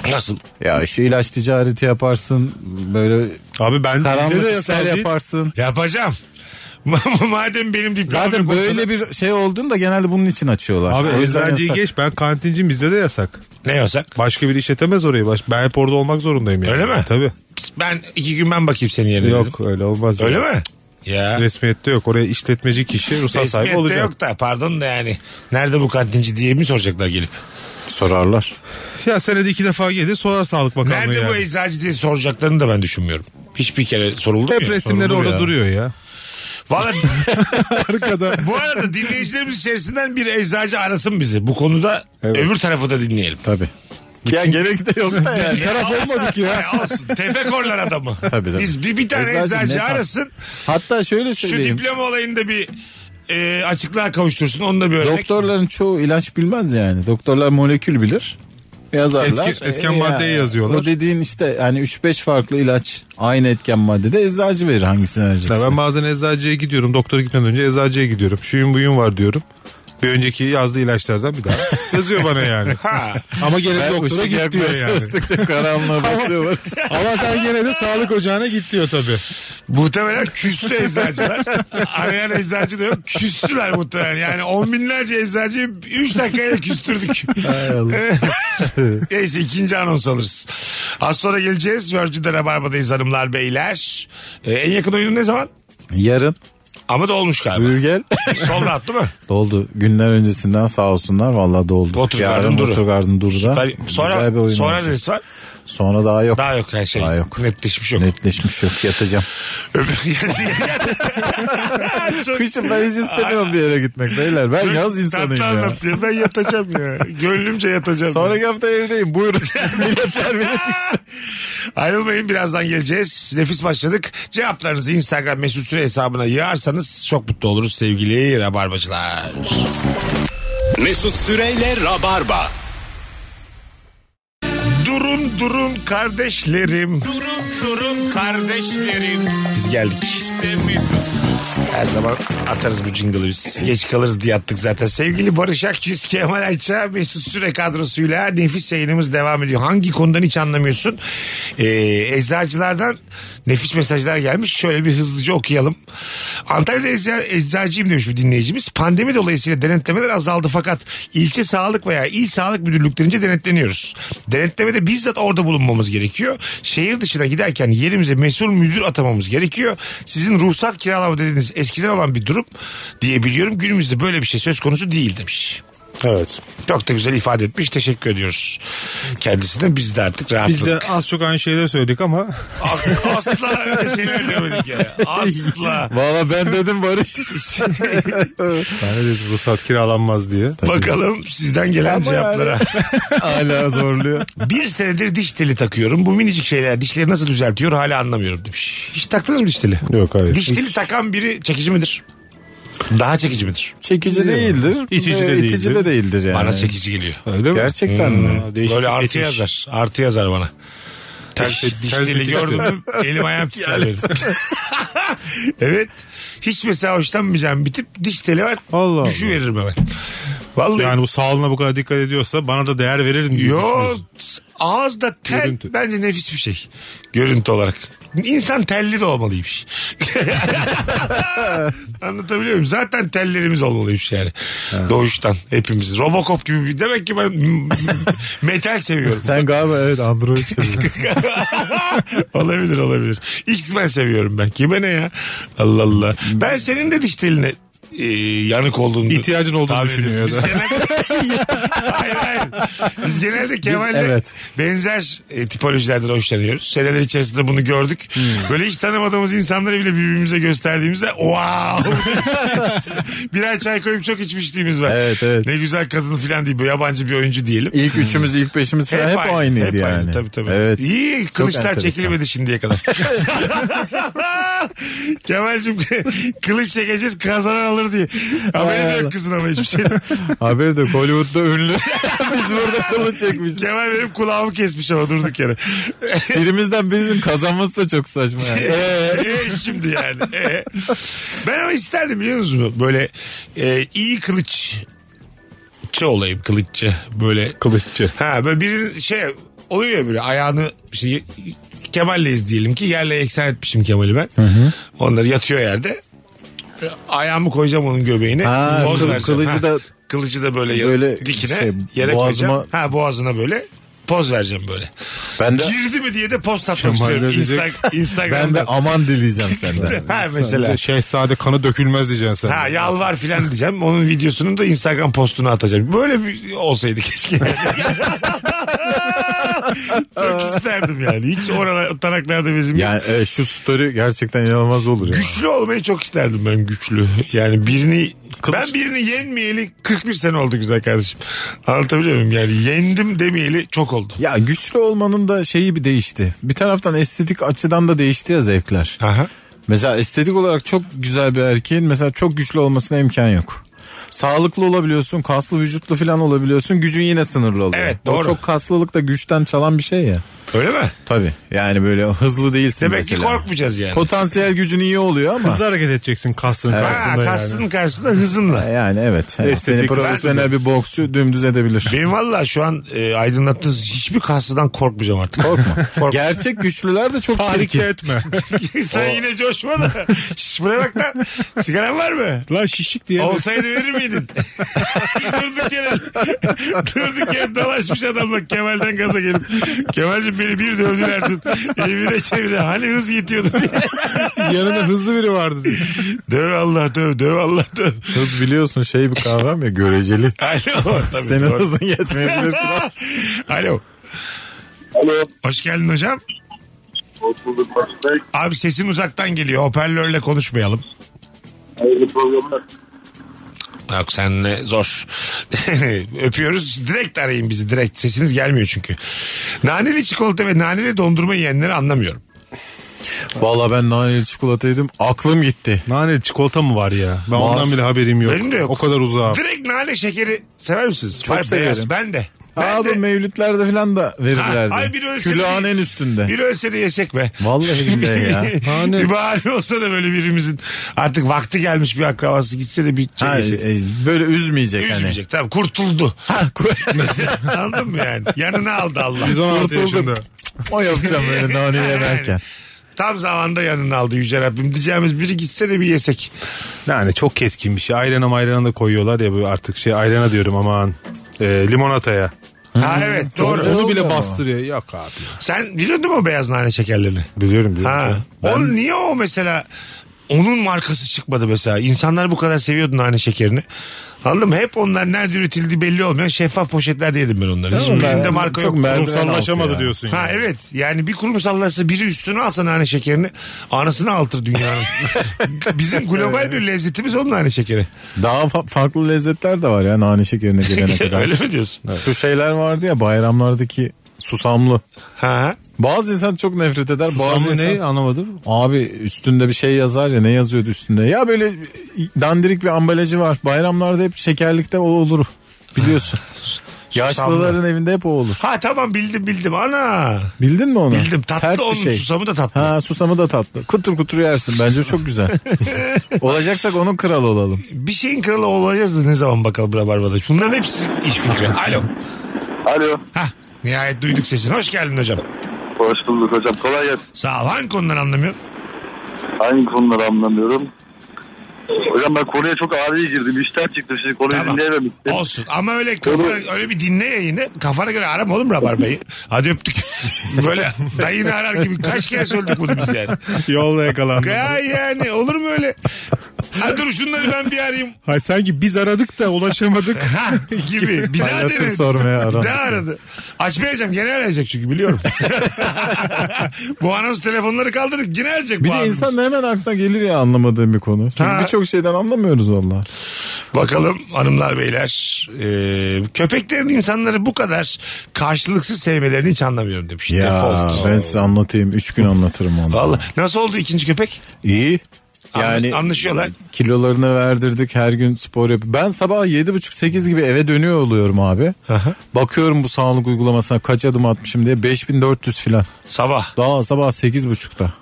C: Nasıl?
D: ya işte ilaç ticareti yaparsın. Böyle
E: Abi ben bize de
D: karanlık
E: yasal
D: işler
E: değil.
D: yaparsın.
C: Yapacağım. Ma- Madem benim diplomam
D: Zaten
C: yok
D: böyle
C: ortada-
D: bir şey olduğunda genelde bunun için açıyorlar.
E: Abi
D: O yüzden
E: eczacıyı
D: yasak.
E: geç ben kantincim bizde de yasak.
C: Ne yasak?
E: Başka biri işletemez orayı. Baş, ben hep orada olmak zorundayım yani.
C: Öyle mi?
E: Tabii.
C: Ben iki gün ben bakayım senin yerine dedim.
E: Yok öyle olmaz.
C: Öyle
E: yani.
C: mi? Ya.
E: Resmiyette yok. Oraya işletmeci kişi ruhsat sahibi
C: Resmiyette
E: olacak.
C: yok da pardon da yani. Nerede bu kantinci diye mi soracaklar gelip?
D: sorarlar.
E: Ya senede iki defa gelir sorar sağlık bakanlığı
C: Nerede bu
E: yani.
C: eczacı diye soracaklarını da ben düşünmüyorum. Hiçbir kere soruldu mu?
E: Hep
C: ya?
E: resimleri
D: Sorulur
E: orada
D: ya.
E: duruyor ya.
C: Valla
E: Arkada.
C: bu arada dinleyicilerimiz içerisinden bir eczacı arasın bizi. Bu konuda
E: Evet.
C: öbür tarafı da dinleyelim.
D: Tabii. Ya gerek de yok da yani. Taraf
C: olsun,
D: olmadık ya.
C: e, Olsun. Tefekorlar adamı.
D: Tabii, tabii.
C: Biz bir, bir tane
D: Eczacı
C: eczacı,
D: ne tarz?
C: arasın.
D: Hatta şöyle
C: Şu
D: söyleyeyim.
C: diploma olayında bir e, açıklığa kavuştursun. Onu da bir örnek.
D: Doktorların çoğu ilaç bilmez yani. Doktorlar molekül bilir. Yazarlar. E,
E: Etki- etken maddeyi
D: yani
E: yazıyorlar.
D: O dediğin işte yani 3-5 farklı ilaç aynı etken maddede eczacı verir hangisini
E: Ya
D: vereceksin.
E: ben bazen eczacıya gidiyorum. Doktora gitmeden önce eczacıya gidiyorum. Şuyun buyun var diyorum. Bir önceki yazdığı ilaçlardan bir daha yazıyor bana yani. Ama gene doktora git diyor yani.
D: karanlığa basıyorlar.
E: Ama sen gene de sağlık ocağına git diyor tabii.
C: Muhtemelen küstü eczacılar. Arayan eczacı da yok. Küstüler muhtemelen. Yani on binlerce eczacıyı 3 dakikayla küstürdük. Neyse ikinci anons alırız. Az sonra geleceğiz. Virgin'de Rabarba'dayız hanımlar beyler. Ee, en yakın oyunu ne zaman?
D: Yarın
C: Ama da olmuş galiba.
D: buyur gel.
C: Sol rahat değil mi?
D: Doldu. Günler öncesinden sağ olsunlar. Vallahi doldu.
C: Water
D: Yarın
C: Garden Duru.
D: Watergarden Duru'da.
C: Ben-
D: güzel bir
C: sonra
D: oyun
C: sonra
D: olacak.
C: neresi var?
D: Sonra daha yok.
C: Daha yok her şey.
D: Daha yok.
C: Netleşmiş yok.
D: Netleşmiş yok. Yatacağım.
C: Çok-
D: Kışın ben hiç istemiyorum bir yere gitmek beyler. Ben
C: çok
D: yaz
C: tatlı
D: insanıyım ya.
C: anlatıyor. Ben yatacağım ya. Gönlümce yatacağım. ya.
D: Sonraki hafta evdeyim. Buyurun. Milletler
C: Ayrılmayın birazdan geleceğiz. Nefis başladık. Cevaplarınızı Instagram mesut süre hesabına yığarsanız çok mutlu oluruz sevgili rabarbacılar.
B: Mesut Süreyle Rabarba.
C: Durun durun kardeşlerim.
B: Durun durun kardeşlerim.
C: Biz geldik.
B: İşte Mesut.
C: Her zaman atarız bu jingle'ı biz. Geç kalırız diye attık zaten. Sevgili Barış Akçıs, Kemal Ayça, Mesut Süre kadrosuyla nefis yayınımız devam ediyor. Hangi konudan hiç anlamıyorsun? Ee, eczacılardan nefis mesajlar gelmiş. Şöyle bir hızlıca okuyalım. Antalya'da ecza- eczacıyım demiş bir dinleyicimiz. Pandemi dolayısıyla denetlemeler azaldı fakat ilçe sağlık veya il sağlık müdürlüklerince denetleniyoruz. Denetlemede bizzat orada bulunmamız gerekiyor. Şehir dışına giderken yerimize mesul müdür atamamız gerekiyor. Sizin ruhsat kiralama dediğiniz eskiden olan bir durum diyebiliyorum. Günümüzde böyle bir şey söz konusu değil demiş.
E: Evet.
C: Çok da güzel ifade etmiş. Teşekkür ediyoruz kendisine. Biz de artık
E: Biz
C: rahatladık.
E: de az çok aynı şeyleri söyledik ama
C: Asla öyle şeyler demedik ya. Asla.
D: Valla ben dedim Barış.
E: ben de dedim ruhsat kiralanmaz diye.
C: Bakalım sizden gelen
D: Ama yani-
C: cevaplara.
D: Hala zorluyor.
C: Bir senedir diş teli takıyorum. Bu minicik şeyler dişleri nasıl düzeltiyor hala anlamıyorum demiş. Hiç taktınız mı diş teli?
E: Yok hayır.
C: Diş teli takan biri çekici midir? Daha çekici midir?
D: Çekici değildir.
E: İtici de
D: Ee, İtici
E: değildir.
D: de değildir yani.
C: Bana çekici geliyor.
E: Öyle mi?
D: Gerçekten mi?
E: Ha, değişik
C: Böyle
E: bir
C: artı
E: fetiş.
C: yazar. Artı yazar bana.
E: Tel
C: Diş,
E: fetiş,
C: diş
E: tel
C: teli
E: fetiş
C: gördüm.
E: diyor.
C: Elim ayağım titriyor benim. evet. Hiç mesela hoşlanmayacağım bir tip diş teli var.
E: Allah Allah.
C: Düşüveririm hemen. Vallahi.
E: Yani bu sağlığına bu kadar dikkat ediyorsa bana da değer veririm diye
C: Yo
E: düşünüyorsun.
C: ağızda tel
E: Görüntü.
C: bence nefis bir şey. Görüntü olarak. İnsan telli de olmalıymış. Anlatabiliyor muyum? Zaten tellerimiz olmalıymış yani. Doğuştan hepimiz. Robocop gibi bir. Demek ki ben m- metal seviyorum.
D: Sen galiba evet Android seviyorsun.
C: olabilir olabilir. X-Men seviyorum ben. Kime ne ya? Allah Allah. Ben senin de diş teline e, yanık olduğunu
E: İhtiyacın olduğunu
C: tahmin
E: düşünüyor
C: ediyorum. Biz genelde... hayır hayır. Biz genelde Kemal'le
D: evet.
C: benzer e, tipolojilerden hoşlanıyoruz. Seneler içerisinde bunu gördük. Böyle hiç tanımadığımız insanları bile birbirimize gösterdiğimizde wow. Birer çay koyup çok içmişliğimiz var.
D: Evet, evet.
C: Ne güzel kadın falan değil. Bu yabancı bir oyuncu diyelim.
D: İlk üçümüz, ilk beşimiz falan hep, aynıydı
C: hep
D: yani.
C: Aynı, tabii tabii.
D: Evet.
C: İyi kılıçlar
D: enteresan.
C: çekilmedi şimdiye kadar. Kemal'cim kılıç çekeceğiz kazanan alır diye.
D: Vay
C: Haberi de
D: Allah.
C: yok kızın ama hiçbir şey.
D: Haberi de yok, Hollywood'da ünlü. Biz burada kılıç çekmişiz.
C: Kemal benim kulağımı kesmiş ama durduk yere.
D: Birimizden birinin kazanması da çok saçma yani. Ee,
C: Ee, şimdi yani. Ee. Ben ama isterdim biliyor musunuz? Böyle e, iyi kılıççı olayım kılıççı. Böyle
E: Kılıççı.
C: Ha böyle birinin şey oluyor ya böyle ayağını şey, Kemal'leyiz diyelim ki yerle eksen etmişim Kemal'i ben. Onları yatıyor yerde. Ayağımı koyacağım onun göbeğine.
D: Ha,
C: Boz
D: kıl-
C: vereceğim.
D: kılıcı da-
C: kılıcı da böyle, yere-
D: Böyle
C: dikine
D: şey,
C: yere
D: boğazıma-
C: koyacağım. Ha boğazına böyle poz vereceğim böyle.
D: ben de
C: Girdi mi diye de post atmak
D: Kemal
C: istiyorum.
D: de diyecek,
C: Insta- Instagram'da.
D: ben de aman dileyeceğim senden.
C: ha mesela.
E: Şehzade kanı dökülmez diyeceksin sen.
C: Ha yalvar filan diyeceğim. Onun videosunu da Instagram postuna atacağım. Böyle bir olsaydı keşke. Çok isterdim yani. Hiç oralar taraklarda bizim.
D: Yani evet, şu story gerçekten inanılmaz olur ya.
C: Güçlü olmayı çok isterdim ben güçlü. Yani birini ben birini yenmeyeli 41 sene oldu güzel kardeşim. Anlatabiliyor muyum? Yani yendim demeyeli çok oldu.
D: Ya güçlü olmanın da şeyi bir değişti. Bir taraftan estetik açıdan da değişti ya zevkler.
C: Aha.
D: Mesela estetik olarak çok güzel bir erkeğin mesela çok güçlü olmasına imkan yok. Sağlıklı olabiliyorsun, kaslı vücutlu falan olabiliyorsun. Gücün yine sınırlı oluyor.
C: Evet,
D: O
C: doğru.
D: çok kaslılık da güçten çalan bir şey ya.
C: Öyle mi?
D: Tabii. Yani böyle hızlı değilsin
C: Demek
D: mesela.
C: ki korkmayacağız yani.
D: Potansiyel gücün iyi oluyor ama.
E: Hızlı hareket edeceksin kastın
C: Ha,
E: karşısında
C: kastın
E: yani.
C: karşısında hızınla.
D: E Yani evet. Yani
E: Estetik
D: seni
E: olarak-
D: profesyonel bir boksçu dümdüz edebilir.
C: Benim valla şu an e, aydınlattığınız hiçbir kaslıdan korkmayacağım artık.
D: Korkma. Gerçek güçlüler de çok
E: Tahrik
D: çirkin.
E: etme.
C: Sen yine coşma da. Şş, buraya bak lan. Sigaran var mı?
E: Lan şişik diye.
C: Olsaydı verir miydin? durduk yere. durduk yere dalaşmış adamla Kemal'den gaza gelip. Kemal'cim beni bir dövdüler dün. Evine çevire. Hani hız yetiyordu.
E: Yanında hızlı biri vardı diye.
C: döv Allah döv. Döv Allah döv.
D: Hız biliyorsun şey bir kavram ya göreceli.
C: Alo. Tabii,
D: Senin
C: doğru.
D: hızın yetmeyebilir.
C: Alo.
F: Alo.
C: Hoş geldin hocam.
F: Hoş bulduk. Hoş bulduk.
C: Abi sesin uzaktan geliyor. Hoparlörle konuşmayalım.
F: Hayırlı programlar.
C: Yok senle zor. Öpüyoruz. Direkt arayın bizi direkt. Sesiniz gelmiyor çünkü. Naneli çikolata ve naneli dondurma yiyenleri anlamıyorum.
D: Valla ben naneli çikolata yedim. Aklım gitti.
E: Nane çikolata mı var ya? Ben
D: Var.
E: ondan bile haberim yok.
C: Benim de yok.
E: O kadar uzağım.
C: Direkt nane şekeri sever misiniz?
D: Çok
C: Var
D: severim.
C: beyaz. Ben de. Ben
D: Abi
C: de.
D: mevlütlerde falan da verirlerdi.
C: Ha, ay bir ölse de-
D: Külhanenin üstünde.
C: Bir ölse de yesek be.
D: Vallahi billahi ya.
E: Nane.
C: bir bahane olsa da böyle birimizin artık vakti gelmiş bir akrabası gitse de bir şey
D: Ha,
C: yesek.
D: e, böyle üzmeyecek, hani.
C: Üzmeyecek tamam kurtuldu.
D: Ha, kur-
C: Anladın mı yani? Yanına aldı Allah.
E: 116 yaşında.
D: o yapacağım böyle nane yemerken.
C: Tam zamanda yanına aldı Yüce Rabbim. Diyeceğimiz biri gitse de bir yesek.
E: Nane çok keskin bir şey. Ayrana mayrana da koyuyorlar ya bu artık şey ayrana diyorum aman. Ee, limonataya.
D: Hmm,
C: Ha evet doğru.
E: Onu
D: oluyor
E: bile
D: ama.
E: bastırıyor. Yok abi.
C: Sen biliyordun mu o beyaz nane şekerlerini?
E: Biliyorum biliyorum.
C: Ha. Onun niye o mesela onun markası çıkmadı mesela. İnsanlar bu kadar seviyordu nane şekerini. Anladın mı? Hep onlar nerede üretildiği belli olmayan şeffaf poşetlerde yedim ben onları. Hiç
D: ben-
C: birinde marka
D: çok
C: yok.
D: merdiven altı
E: Kurumsallaşamadı
D: ya.
E: diyorsun.
C: Ha
E: yani.
C: evet yani bir kurumsallaşsa biri üstüne alsa nane şekerini anasını altır dünyanın. Bizim global bir lezzetimiz onun nane şekeri.
D: Daha fa- farklı lezzetler de var ya nane şekerine gelene kadar.
C: Öyle mi diyorsun?
D: Şu şeyler vardı ya bayramlardaki susamlı.
C: Ha.
D: Bazı insan çok nefret eder.
E: Susamlı
D: bazı insan...
E: ne anlamadım.
D: Abi üstünde bir şey yazar ya ne yazıyordu üstünde? Ya böyle dandirik bir ambalajı var. Bayramlarda hep şekerlikte o olur. Biliyorsun. Yaşlıların evinde hep o olur.
C: Ha tamam bildim bildim ana.
D: Bildin mi onu?
C: Bildim
D: Sert
C: tatlı
D: bir
C: onun
D: şey.
C: susamı da tatlı.
D: Ha susamı da tatlı. Kutur kutur yersin. Bence çok güzel. Olacaksak onun kralı olalım.
C: Bir şeyin kralı olacağız da ne zaman bakalım Rabarba'da. Bunların hepsi iş fikri. Alo.
G: Alo.
C: Hah nihayet duyduk sesini. Hoş geldin hocam.
G: Hoş bulduk hocam. Kolay gelsin.
C: Sağ ol. Hangi konudan anlamıyorsun?
G: Hangi konuları anlamıyorum. Hocam ben konuya çok ani girdim. İşten çıktım şimdi konuyu
C: Tamam.
G: dinleyememiştim.
C: Olsun. Ama öyle kafana, öyle bir dinle yayını. Kafana göre arama oğlum Rabarba'yı. Hadi öptük. Böyle dayını arar gibi. Kaç kere söyledik bunu biz yani.
E: Yolda yakalandı.
C: Ya yani olur mu öyle? Ha dur şunları ben bir arayayım.
E: Hayır sanki biz aradık da ulaşamadık.
C: Ha gibi. Bir daha
D: Hayatın
C: denedi.
D: sormaya
C: Bir
D: aradı.
C: daha aradı. Açmayacağım. Gene arayacak çünkü biliyorum. bu anons telefonları kaldırdık. Gene arayacak
D: Bir
C: bu
D: de
C: abimiz.
D: insan hemen aklına gelir ya anlamadığım bir konu. Çünkü
C: Ha.
D: birçok şeyden anlamıyoruz valla.
C: Bakalım hanımlar beyler. Ee, köpeklerin insanları bu kadar karşılıksız sevmelerini hiç anlamıyorum demiş.
D: Ya
C: Default.
D: ben size anlatayım. Üç gün anlatırım onu.
C: Vallahi. Nasıl oldu ikinci köpek?
D: İyi.
C: Anla-
D: Yani
C: anlaşıyorlar.
D: kilolarını verdirdik her gün spor yap. Ben sabah 7.30-8 gibi eve dönüyor oluyorum abi. Bakıyorum bu sağlık uygulamasına kaç adım atmışım diye 5400 filan.
C: Sabah.
D: Daha sabah 8.30'da.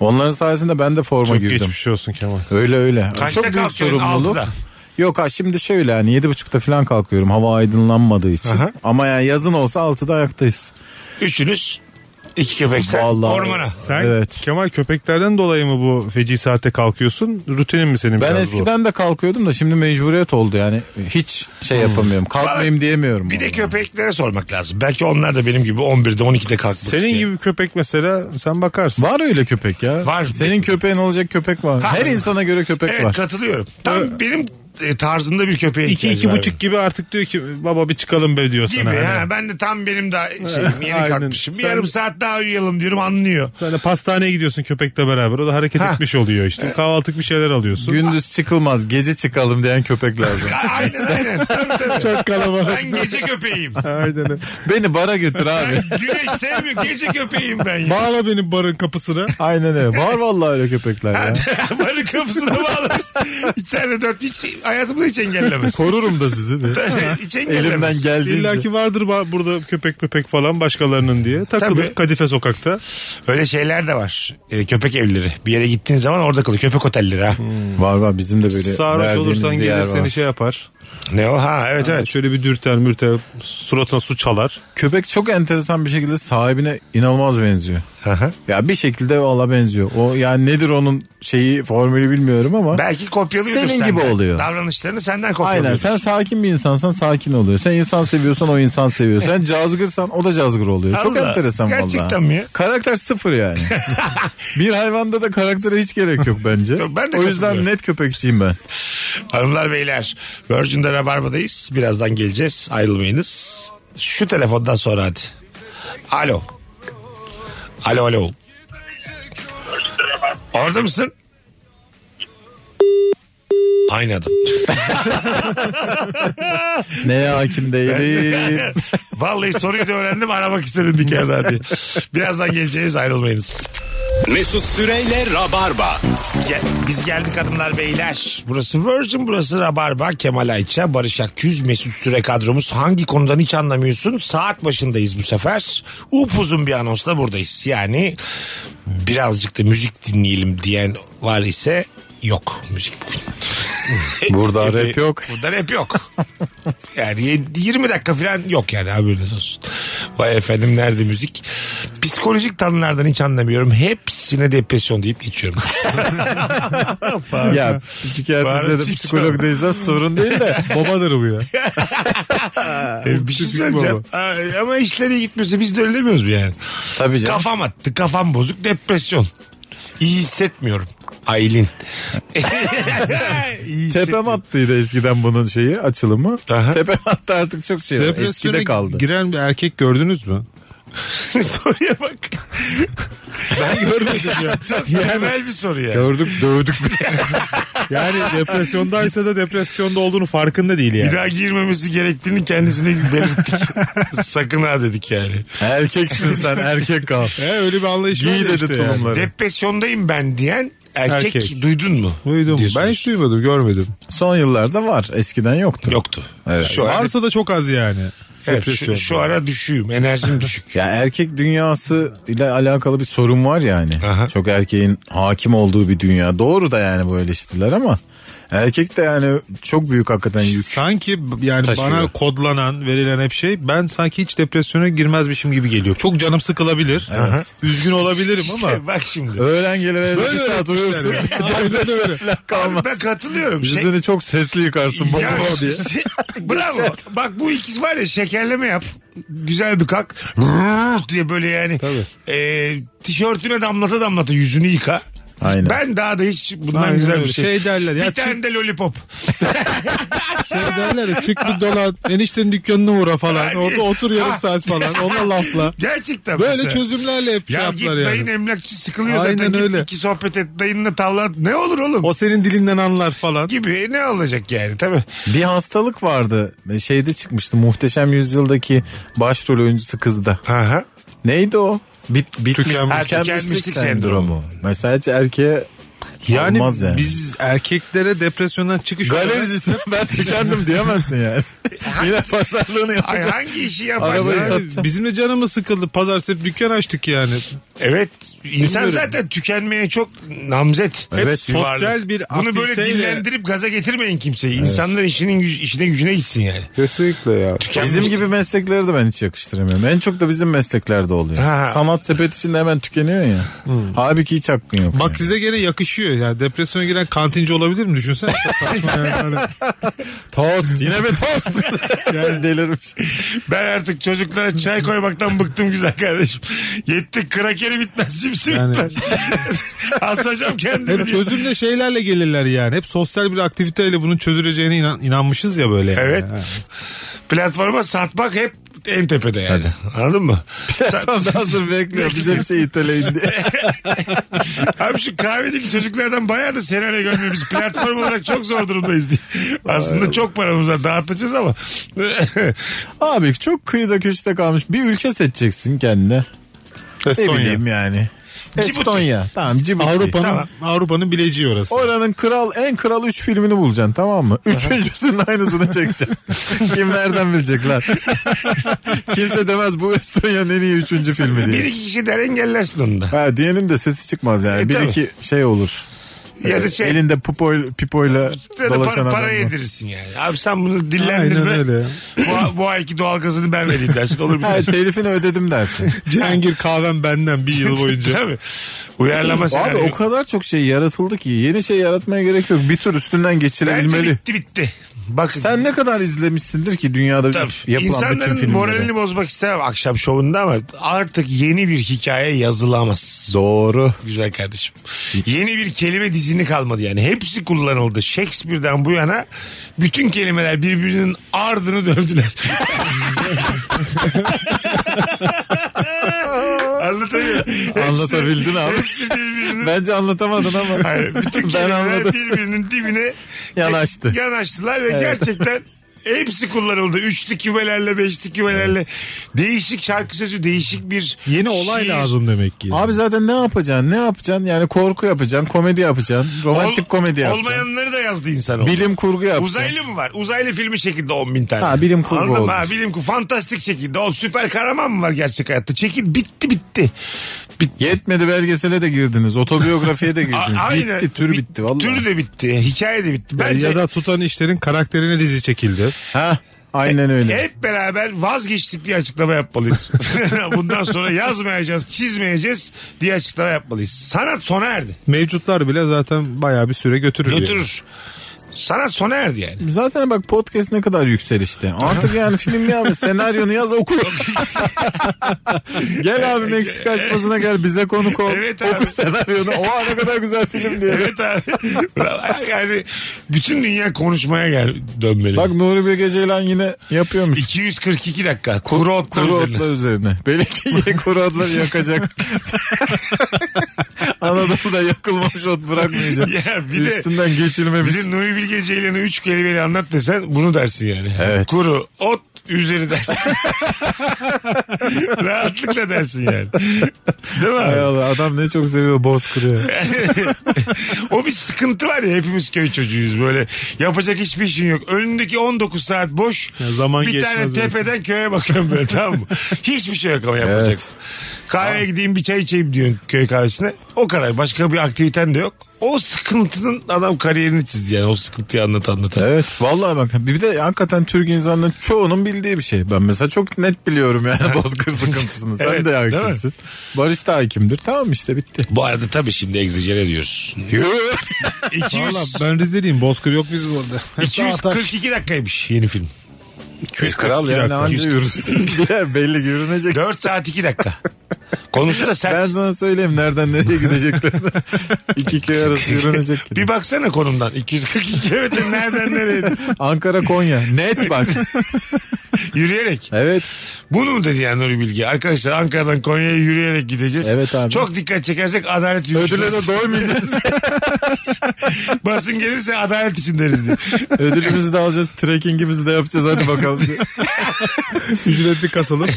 D: Onların sayesinde ben de forma
E: Çok
D: girdim.
E: geçmiş olsun Kemal.
D: Öyle öyle.
C: Kaçta
D: Çok büyük
C: kalkıyorsun?
D: sorumluluk.
C: Altıda.
D: Yok ha şimdi şöyle hani yedi buçukta falan kalkıyorum hava aydınlanmadığı için.
C: Aha.
D: Ama yani yazın olsa altıda ayaktayız.
C: Üçünüz. iki köpek sen.
D: Vallahi.
C: Ormana.
E: Sen
D: Evet.
E: Kemal köpeklerden dolayı mı bu feci saatte kalkıyorsun? Rutinin mi senin biraz
D: Ben
E: bu?
D: eskiden de kalkıyordum da şimdi mecburiyet oldu yani. Hiç şey yapamıyorum kalkmayayım diyemiyorum.
C: Hmm. Bir de
D: vallahi.
C: köpeklere sormak lazım. Belki onlar da benim gibi 11'de 12'de kalkmak
E: Senin
C: isteyen.
E: gibi bir köpek mesela sen bakarsın.
D: Var öyle köpek ya.
C: Var.
D: Senin köpeğin olacak köpek var.
C: Ha.
D: Her insana göre köpek
C: Evet
D: var.
C: katılıyorum. Tam benim e, tarzımda bir köpeğe
E: İki,
C: ihtiyacım
E: iki
C: var
E: buçuk gibi artık diyor ki baba bir çıkalım be diyor
C: benim.
E: sana.
C: gibi.
E: hani.
C: Ha, ben de tam benim daha şeyim yeni
E: Aynen.
C: kalkmışım. Bir
E: Sen-
C: yarım saat daha uyuyalım diyorum anlıyor.
E: Sen de pastaneye gidiyorsun köpekle beraber. O da hareket
C: Ha.
E: etmiş oluyor işte. Kahvaltılık bir şeyler alıyorsun.
D: Gündüz çıkılmaz gece çıkalım diyen köpek lazım.
C: A- Aynen aynen. Tabii, tabii.
E: Çok kalabalık.
C: Ben gece köpeğim.
E: Aynen. öyle.
D: Beni bara götür abi.
C: Ben güneş sevmiyorum. Gece köpeğim ben ya.
E: Bağla beni barın kapısına.
D: Aynen öyle. Var vallahi öyle köpekler ya.
C: Bana kapısına bağlamış. İçeride dört. Hiç, hayatımda hiç engellemez.
D: Korurum da sizi de.
C: hiç engellemez.
D: Elimden
E: İlla
D: geldiğince.
E: ki vardır ba- burada köpek köpek falan başkalarının diye. Takılır
C: Tabii.
E: Kadife sokakta.
C: Öyle şeyler de var. E, köpek evleri. Bir yere gittiğin zaman orada kalıyor. Köpek otelleri ha.
D: Var var bizim de böyle
E: Sarhoş
D: verdiğimiz
E: olursan
D: bir
E: gelir
D: yer var.
E: seni şey yapar.
C: Ne o? Ha evet evet.
E: Şöyle bir dürter mürter suratına su çalar.
D: Köpek çok enteresan bir şekilde sahibine inanılmaz benziyor.
C: Aha.
D: Ya bir şekilde valla benziyor. O yani nedir onun şeyi formülü bilmiyorum ama.
C: Belki kopyalıyordur
D: Senin
C: senden.
D: gibi oluyor.
C: Davranışlarını senden kopyalıyordur.
D: Aynen sen sakin bir insansan sakin oluyor. Sen insan seviyorsan o insan seviyor. Sen cazgırsan o da cazgır oluyor. Çok
C: Allah,
D: enteresan valla.
C: gerçekten mi ya?
D: Karakter sıfır yani. bir hayvanda da karaktere hiç gerek yok bence.
C: Tabii, ben de
D: o
C: katılıyorum.
D: yüzden net köpekçiyim ben.
C: Hanımlar beyler Virgin'de Rabarba'dayız. Birazdan geleceğiz. Ayrılmayınız. Şu telefondan sonra hadi. Alo. Alo alo. Orada mısın? Aynı adam.
D: Neye hakim değilim.
C: Vallahi soruyu da öğrendim aramak istedim bir kere daha diye. Birazdan geleceğiz ayrılmayınız.
B: Mesut Süreyle Rabarba.
C: Gel- biz geldik hanımlar beyler. Burası Virgin, burası Rabarba. Kemal Ayça, Barış Akküz, Mesut Süre kadromuz. Hangi konudan hiç anlamıyorsun? Saat başındayız bu sefer. Upuzun bir anonsla buradayız. Yani birazcık da müzik dinleyelim diyen var ise yok müzik bugün.
D: Burada rap yok.
C: Burada rap yok. yani yedi- 20 dakika falan yok yani haberiniz olsun. Vay efendim nerede müzik? Psikolojik tanılardan hiç anlamıyorum. Hepsine depresyon deyip geçiyorum.
D: Ya
C: Bağırın
D: psikiyatriste de
C: çift
D: psikolog değilsen sorun değil de.
E: Babadır bu ya.
C: Ee, bir şey
E: Çocuk
C: söyleyeceğim. Ay, Ama işleri iyi gitmiyorsa biz de öyle demiyoruz mu yani?
D: Tabii canım.
C: Kafam attı, kafam bozuk, depresyon. İyi hissetmiyorum. Aylin. İyi
D: Tepem attıydı eskiden bunun şeyi açılımı.
C: Aha.
D: Tepem attı artık çok şey. var. Eskide kaldı.
E: giren bir erkek gördünüz mü?
C: hissetmiyorum. Soruya bak.
E: Ben görmedim ya.
C: Çok temel bir soru ya.
D: Gördük dövdük.
E: Yani depresyondaysa da depresyonda olduğunu farkında değil yani.
C: Bir daha girmemesi gerektiğini kendisine belirttik. Sakın ha dedik yani.
D: Erkeksin sen erkek kal.
E: He, öyle bir anlayış var
D: Giy
E: ya
D: dedi
E: işte yani.
D: tulumları.
C: Depresyondayım ben diyen erkek,
E: Erkek.
C: duydun mu?
E: Duydum. Ben
C: Diyorsunuz.
E: hiç duymadım görmedim.
D: Son yıllarda var. Eskiden yoktu.
C: Yoktu.
D: Evet.
C: Şu an
E: Varsa da çok az yani.
C: Evet,
E: Depresyon.
C: şu, şu ara düşüğüm. Enerjim düşük.
D: Ya erkek dünyası ile alakalı bir sorun var yani.
C: Aha.
D: Çok erkeğin hakim olduğu bir dünya. Doğru da yani bu eleştiriler ama erkek de yani çok büyük hakikaten yük.
E: Sanki b- yani
D: Taşıyor.
E: bana kodlanan verilen hep şey ben sanki hiç depresyona girmezmişim gibi geliyor. Çok canım sıkılabilir. Üzgün olabilirim ama.
C: İşte bak şimdi.
D: Öğlen gelir eve bir saat uyursun. Kalmaz.
C: Ben katılıyorum. Şey-
D: Yüzünü çok sesli yıkarsın baba
C: Ya,
D: diye.
C: şey- bravo. Bak bu ikiz var ya şekerleme yap. Güzel bir kalk. diye böyle yani. E, tişörtüne damlata damlata yüzünü yıka.
D: Aynen.
C: Ben daha da hiç bundan
E: Aynen
C: güzel bir
E: öyle.
C: şey.
E: Şey derler ya,
C: Bir
E: çık-
C: tane de lollipop.
E: Şey derler ya çık bir dolan eniştenin dükkanına uğra falan.
C: Abi.
E: Orada otur yarım
C: Ha.
E: saat falan. Ona lafla.
C: Gerçekten.
E: Böyle
C: mesela.
E: çözümlerle hep şey
C: Ya git
E: yaptılar
C: dayın
E: yani.
C: emlakçı sıkılıyor
E: Aynen
C: zaten. Git
E: öyle.
C: iki sohbet et dayınla tavla at. Ne olur oğlum?
E: O senin dilinden anlar falan.
C: gibi E, ne olacak yani tabii.
D: Bir hastalık vardı. Şeyde çıkmıştı. Muhteşem Yüzyıldaki başrol oyuncusu kızda.
C: Aha.
D: Neydi o? Bit, bitmiş,
C: Tükenmiş-
D: tükenmişlik
C: tükenmişlik
D: sendromu.
C: sendromu.
D: Mesela hiç erkeğe
E: Yani,
D: olmaz yani.
E: biz erkeklere depresyondan çıkış olarak-
D: Galericisine ben tükendim diyemezsin yani. Yine pazarlığını
C: Ay
D: yapacak.
C: hangi işi yaparsan.
D: Arabayı
E: Abi,
D: satacağım.
E: bizim de canımız sıkıldı. Pazartesi hep dükkan açtık yani.
C: Evet. insan
E: Bilmiyorum.
C: zaten tükenmeye çok namzet.
D: Evet,
C: Hep
E: sosyal
C: varlık.
E: bir
C: Bunu böyle
E: aktiviteyle-
C: dinlendirip gaza getirmeyin kimseyi. İnsanlar işinin güc- işine gücüne gitsin yani.
E: Kesinlikle ya.
C: Tükenmiş.
D: Bizim gibi meslekleri de ben hiç yakıştıramıyorum. En çok da bizim mesleklerde oluyor.
C: Ha.
D: Sanat sepeti içinde hemen tükeniyor ya. Halbuki hiç hakkın yok.
E: Bak
D: yani.
E: size gene yakışıyor ya. Depresyona giren kantinci olabilir mi? Düşünsene. Çok saçma yani. hani. Böyle
D: Tost yine bir tost. yani delirmiş.
E: şey.
C: Ben artık çocuklara çay koymaktan bıktım güzel kardeşim. Yetti krakeri bitmez cipsi
E: Yani-
C: bitmez. Asacağım kendimi.
E: Hep
C: diye.
E: çözümle şeylerle gelirler yani. Hep sosyal bir aktiviteyle bunun çözüleceğine inan- inanmışız ya böyle. yani.
C: Evet.
E: Ha.
C: Platforma satmak hep en tepede yani. Anladın mı?
D: Daha sonra bekliyor bize bir şey iteleyin diye.
C: Abi şu kahvedeki çocuklardan bayağı da senaryo görmüyoruz. Platform olarak çok zor durumdayız diye. Aslında çok paramız var dağıtacağız ama.
D: Abi çok kıyıda köşede kalmış bir ülke seçeceksin kendine. Ne
E: Estonya.
D: bileyim yani.
C: Cibuti.
D: Estonya. Tamam Cibuti.
E: Avrupa'nın
C: Tamam.
E: Avrupa'nın bileceği orası.
D: Oranın kral en kral 3 filmini bulacaksın tamam mı? Üçüncüsünün aynısını çekeceksin. Kim nereden bilecek lan? Kimse demez bu Estonya'nın en iyi üçüncü filmi
C: bir
D: diye.
C: iki kişi der engellersin onu da.
D: Ha, diyenin de sesi çıkmaz yani.
C: E,
D: bir
C: tabii.
D: iki şey olur.
C: Ya da şey
D: Elinde pupoy, pipoyla
C: ya da para,
D: dolaşan
C: para
D: adam. var.
C: yedirirsin yani. Abi sen bunu
E: Aynen
C: dillendirme.
E: öyle.
C: bu, bu ayki doğalgazını ben vereyim dersin. Olur mu?
D: Ha, telifini ödedim dersin.
E: Cihangir kahvem şey benden bir yıl boyunca.
C: Tabii. Uyarlama
D: Abi
C: senaryo.
D: o kadar çok şey yaratıldı ki yeni şey yaratmaya gerek yok. Bir tur üstünden
C: Bence
D: geçirebilmeli.
C: bitti bitti. Bakın.
D: Sen ne kadar izlemişsindir ki dünyada
C: Tabii.
D: yapılan bütün
C: İnsanların
D: filmleri.
C: moralini bozmak istemem akşam şovunda ama artık yeni bir hikaye yazılamaz.
D: Doğru.
C: Güzel kardeşim. Yeni bir kelime dizini kalmadı yani. Hepsi kullanıldı. Shakespeare'den bu yana bütün kelimeler birbirinin ardını dövdüler. Anlatabiliyor muyum? Hepsi-
D: Anlatabildin abi.
C: Hepsi birbirinin...
D: Bence anlatamadın ama.
C: Hayır, bütün
D: ben
C: kelimeler
D: anladım.
C: birbirinin dibine
D: Yanaştı.
C: yanaştılar ve gerçekten hepsi kullanıldı. Üçlü kümelerle, beşli kümelerle. Değişik şarkı sözü, değişik bir
E: Yeni olay
C: şiir.
E: lazım demek ki.
D: Abi zaten ne yapacaksın? Ne yapacaksın? Yani korku yapacaksın, komedi yapacaksın, romantik
C: Ol-
D: komedi yapacaksın.
C: Olmayanları da yazdı insan.
D: Bilim kurgu yapacaksın.
C: Uzaylı mı var? Uzaylı filmi çekildi 10 bin tane.
D: Ha, bilim kurgu
C: Anladın mı?
D: olmuş.
C: Ha, bilim kurgu. Fantastik çekildi. O süper kahraman mı var gerçek hayatta? Çekil bitti bitti. Bitti.
D: Yetmedi belgesele de girdiniz, otobiyografiye de girdiniz.
C: A- aynen.
D: Bitti, tür
C: Bit-
D: bitti vallahi.
C: Türü de bitti. Hikaye de bitti. Bence
E: Ya da tutan işlerin karakterine dizi çekildi.
D: Ha,
C: E-
D: aynen öyle.
C: hep beraber vazgeçtik diye açıklama yapmalıyız. Bundan sonra yazmayacağız, çizmeyeceğiz diye açıklama yapmalıyız. Sanat sona erdi.
E: Mevcutlar bile zaten bayağı bir süre götürür. yani.
C: Götürür. Sanat sona erdi yani.
D: Zaten bak podcast ne kadar yükselişte. Artık yani film ya senaryonu yaz oku. gel abi Meksika açmasına gel bize konuk ol.
C: Evet abi.
D: oku senaryonu. Oha ne kadar güzel film diye.
C: Evet abi. yani bütün dünya konuşmaya gel dönmeli.
D: Bak Nuri Bilge Ceylan yine yapıyormuş.
C: 242 dakika. Kuru otlar
D: Kuru
C: üzerine.
D: otlar üzerine. Belki yine kuru otlar yakacak. Anadolu'da yakılmamış ot bırakmayacak.
C: Ya bir de-
D: Üstünden geçilmemiş.
C: Bir de Nuri Nuri Bilge Ceylan'ı üç kelimeyle anlat desen bunu dersin yani.
D: Evet.
C: Kuru, ot, üzeri dersin. Rahatlıkla dersin yani. Değil mi
E: Hay
C: abi?
E: Allah adam ne çok seviyor boz kırıyor.
C: o bir sıkıntı var ya hepimiz köy çocuğuyuz böyle. Yapacak hiçbir işin yok. Önündeki 19 saat boş.
E: Ya zaman
C: bir tane
E: geçmez
C: tepeden köye bakıyorum böyle tamam mı? Hiçbir şey yok ama yapacak.
D: Evet.
C: Kahveye gideyim bir çay içeyim diyorsun köy kahvesine. O kadar. Başka bir aktiviten de yok. O sıkıntının adam kariyerini çizdi yani. O sıkıntıyı anlat anlat.
D: Evet vallahi bak bir de hakikaten Türk insanının çoğunun bildiği bir şey. Ben mesela çok net biliyorum yani bozkır sıkıntısını. Sen
C: Evet,
D: de
C: değil mi?
D: hakimsin. Barış da hakimdir. Tamam işte bitti.
C: Bu arada tabii şimdi egzajer ediyoruz. 200,
E: Valla ben Rizeliyim bozkır yok biz burada.
C: 242 dakikaymış yeni film.
D: Kral yani anca yürürsün diye belli ki yürünecek.
C: 4 saat 2 dakika. Konusu da sert.
D: Ben sana söyleyeyim nereden nereye gideceklerini. İki köy arası yürünecek.
C: Bir baksana konumdan. 242 kilometre nereden nereye?
D: Ankara Konya. Net bak.
C: Yürüyerek.
D: evet.
C: Bunu mu dedi yani Nuri Bilge? Arkadaşlar Ankara'dan Konya'ya yürüyerek gideceğiz.
D: Evet abi.
C: Çok dikkat çekersek adalet
D: Ödüle
C: yürüyüşü.
D: de doymayacağız.
C: Basın gelirse adalet için deriz diye.
D: Ödülümüzü de alacağız. Trekkingimizi de yapacağız. Hadi bakalım. Ücretli kasalım.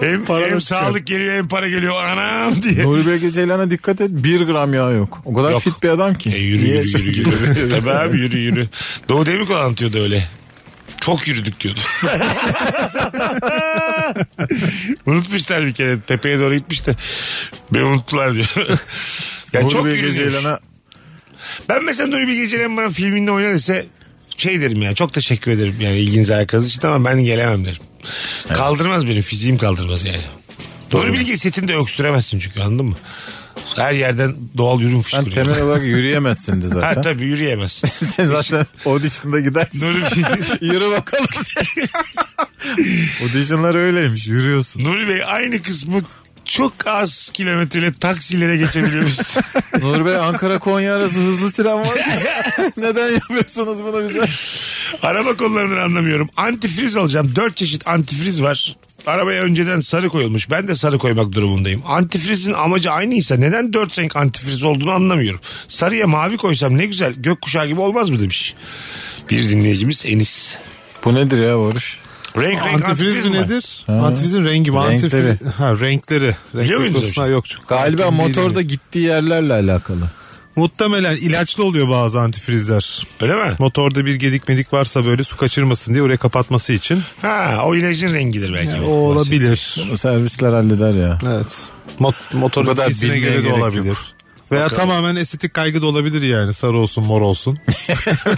C: Hem,
D: Para da
C: hem
D: çıkar.
C: sağlık geliyor hem para geliyor. Anam diye.
D: Nuri Bilge Ceylan'a dikkat et. Bir gram yağ yok. O kadar
C: Yok.
D: fit bir adam ki.
C: E yürü
D: Niye?
C: yürü yürü yürü. Tabii abi yürü yürü. Doğu Demirkol anlatıyordu öyle. Çok yürüdük diyordu. Unutmuşlar bir kere. Tepeye doğru gitmiş de. Beni unuttular diyor. ya
D: Nuri
C: çok
D: Bilge
C: yürüdük.
D: Ceylan'a
C: Ben mesela Nuri Bilge Ceylan bana filminde oynar ise şey derim ya çok teşekkür ederim yani ilginizi alakası için ama ben gelemem derim. Kaldırmaz beni fiziğim kaldırmaz yani. Nuri Bilge setinde öksüremezsin çünkü anladın mı? Her yerden doğal ürün
D: sen
C: fışkırıyor.
D: temel olarak yürüyemezsin de
C: Ha
D: zaten.
C: tabii yürüyemezsin.
D: Sen zaten audition'da gidersin.
C: Nuri, Bilge-
D: şey. Yürü bakalım. Audition'lar öyleymiş. Yürüyorsun.
C: Nuri Bey aynı kısmı çok az kilometreyle taksilere geçebiliyoruz.
D: Nur Bey Ankara Konya arası hızlı tren var. Neden yapıyorsunuz bunu bize?
C: Araba konularından anlamıyorum. Antifriz alacağım. Dört çeşit antifriz var. Arabaya önceden sarı koyulmuş. Ben de sarı koymak durumundayım. Antifrizin amacı aynıysa neden dört renk antifriz olduğunu anlamıyorum. Sarıya mavi koysam ne güzel gökkuşağı gibi olmaz mı demiş. Bir dinleyicimiz Enis.
D: Bu nedir ya Barış?
C: Renk renk antifriz,
E: Antifriz mi
C: mi?
E: nedir? Antifrizin rengi mi?
D: Renkleri.
E: Antifriz. Ha renkleri.
C: Biliyor
E: Renkleri
C: muydunuz
E: konusunda
C: hocam?
E: yok çünkü.
D: Galiba
E: Hakim
D: motorda
E: değilim.
D: gittiği yerlerle alakalı.
E: Muhtemelen ilaçlı oluyor bazı antifrizler.
C: Öyle mi?
E: Motorda bir gedik medik varsa böyle su kaçırmasın diye oraya kapatması için.
C: Ha o ilacın rengidir belki.
E: O olabilir.
D: O servisler halleder ya.
E: Evet. Mot motorun
D: Bu kadar
E: cinsine
D: bilmeye
E: göre de
D: gerek
E: olabilir.
D: yok.
E: Veya tamamen estetik kaygı da olabilir yani. Sarı olsun mor olsun.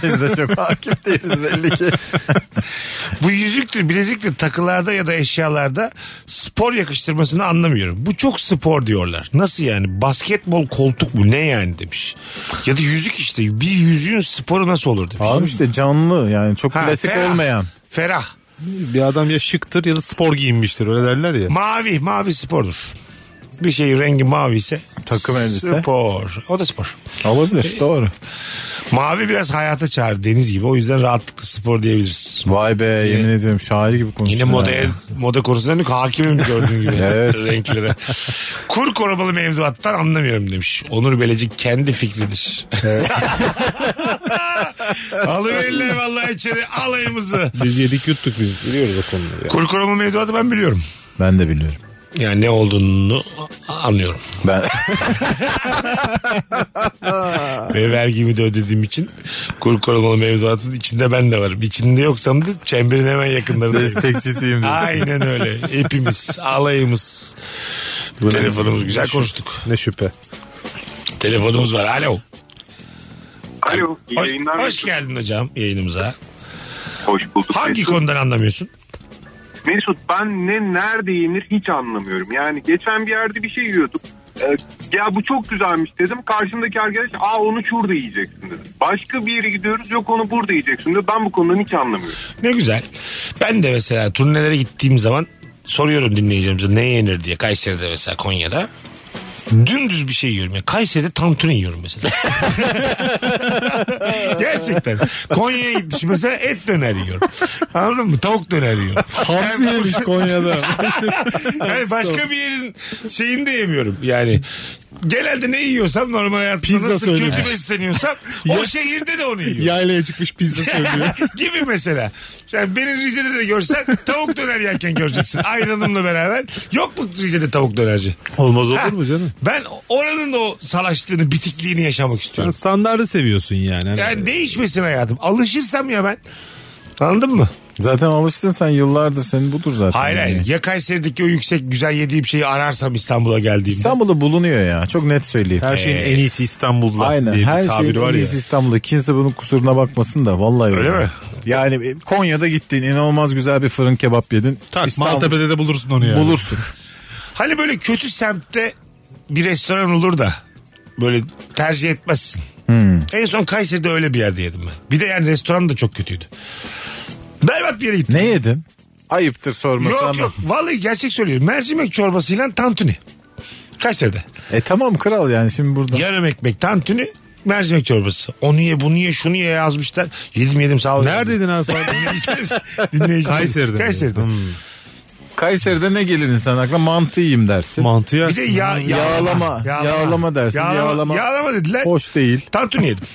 D: Biz de çok hakim değiliz belli ki.
C: Bu yüzüktür, bileziktir takılarda ya da eşyalarda spor yakıştırmasını anlamıyorum. Bu çok spor diyorlar. Nasıl yani? Basketbol koltuk bu ne yani demiş. Ya da yüzük işte. Bir yüzüğün sporu nasıl olur demiş.
D: Abi işte canlı yani çok
C: Ha,
D: klasik
C: ferah.
D: olmayan.
C: Ferah.
E: bir adam ya şıktır ya da spor giyinmiştir öyle derler ya.
C: Mavi. Mavi spordur. Bir şeyin rengi mavi ise
D: Takım elbise.
C: Spor. O da spor.
D: Olabilir doğru.
C: Mavi biraz hayata çağır deniz gibi. O yüzden rahatlıkla spor diyebiliriz.
D: Vay be yemin ediyorum şair gibi konuştun.
C: Yine
D: ha.
C: modaya, moda konusunda hakimim gördüğün gibi.
D: Evet.
C: Renklere. Kur korumalı mevduattan anlamıyorum demiş. Onur Belecik kendi fikridir. Alıverirler vallahi içeri alayımızı.
E: Biz yedik yuttuk biz biliyoruz o konuyu.
C: Kur korumalı mevduatı ben biliyorum.
D: Ben de biliyorum.
C: Yani ne olduğunu anlıyorum.
D: Ben
C: Ve vergimi de ödediğim için kur korumalı mevduatın içinde ben de varım. İçinde yoksam da çemberin hemen yakınlarındayım.
D: destekçisiyim. diyorsun.
C: Aynen öyle. Hepimiz, alayımız. Telefonumuz güzel konuştuk.
E: Ne şüphe.
C: Telefonumuz var. Alo.
F: Alo. iyi
C: Hoş,
F: yayınlar.
C: hoş geldin hocam yayınımıza.
F: Hoş bulduk.
C: Hangi
F: Mesut.
C: konudan anlamıyorsun?
F: Mesut ben ne nerede yenir hiç anlamıyorum. Yani geçen bir yerde bir şey yiyorduk. Ee, ya bu çok güzelmiş dedim. Karşımdaki arkadaş aa onu şurada yiyeceksin dedi. Başka bir yere gidiyoruz yok onu burada yiyeceksin dedi. Ben bu konudan hiç anlamıyorum.
C: Ne güzel. Ben de mesela turnelere gittiğim zaman soruyorum dinleyicilerimize ne yenir diye. Kayseri'de mesela Konya'da. Dümdüz bir şey yiyorum. ya. Kayseri'de tantuni yiyorum mesela. Gerçekten. Konya'ya gitmiş mesela et döner yiyorum. Anladın mı? Tavuk döner yiyorum.
D: Hamsi yemiş Konya'da.
C: Yani başka bir yerin şeyini de yemiyorum yani. Genelde ne yiyorsam normal hayatımda
D: Pizza
C: nasıl
D: söylüyorum.
C: kötü besleniyorsam o şehirde de onu yiyorum.
D: Yaylaya çıkmış pizza söylüyor.
C: gibi mesela. Yani beni Rize'de de görsen tavuk döner yerken göreceksin. Ayranımla beraber. Yok mu Rize'de tavuk dönerci?
E: Olmaz
C: Ha,
E: olur mu canım?
C: Ben oranın da o salaşlığını, bitikliğini yaşamak
E: Sen
C: istiyorum.
E: standartı seviyorsun yani. Hani-
C: Yani değişmesin hayatım. Alışırsam ya ben. Anladın mı?
D: Zaten alıştın sen yıllardır senin budur zaten.
C: Hayır
D: Yani.
C: hayır. Ya Kayseri'deki o yüksek güzel yediğim şeyi ararsam İstanbul'a geldiğimde.
D: İstanbul'da bulunuyor ya. Çok net söyleyeyim.
E: her şeyin en iyisi İstanbul'da
D: Ee, Aynen.
E: diye bir
D: Her
E: tabir
D: şeyin
E: var
D: en
E: ya.
D: iyisi İstanbul'da. Kimse bunun kusuruna bakmasın da. Vallahi öyle.
C: mi?
D: Yani e, Konya'da gittin inanılmaz güzel bir fırın kebap yedin.
E: Tak,
D: İstanbul-
E: Maltepe'de de bulursun onu yani.
D: Bulursun.
C: Hani böyle kötü semtte bir restoran olur da böyle tercih etmezsin. En son Kayseri'de öyle bir yerde yedim ben. Bir de yani restoran da çok kötüydü. Berbat bir yere gittim.
D: ne yedin? Ayıptır sorması
C: Yok
D: ama.
C: yok vallahi gerçek söylüyorum. Mercimek çorbasıyla tantuni. Kayseri'de.
D: E tamam kral yani şimdi burada.
C: Yarım ekmek tantuni mercimek çorbası. Onu ye bunu ye şunu ye yazmışlar. Yedim yedim sağ ol.
E: Neredeydin abi?
C: Dinleyiciler- dinleyiciler-
E: Kayseri'de. Hmm.
C: Kayseri'de.
D: Kayseri'de ne gelir insan aklına? Mantı yiyeyim dersin.
E: Mantı
C: Bir
E: yersin.
C: de ya,
D: Yağlama. Yağlama. dersin. Yağlama.
C: Yağlama dediler.
D: Hoş değil.
C: Tantuni yedim.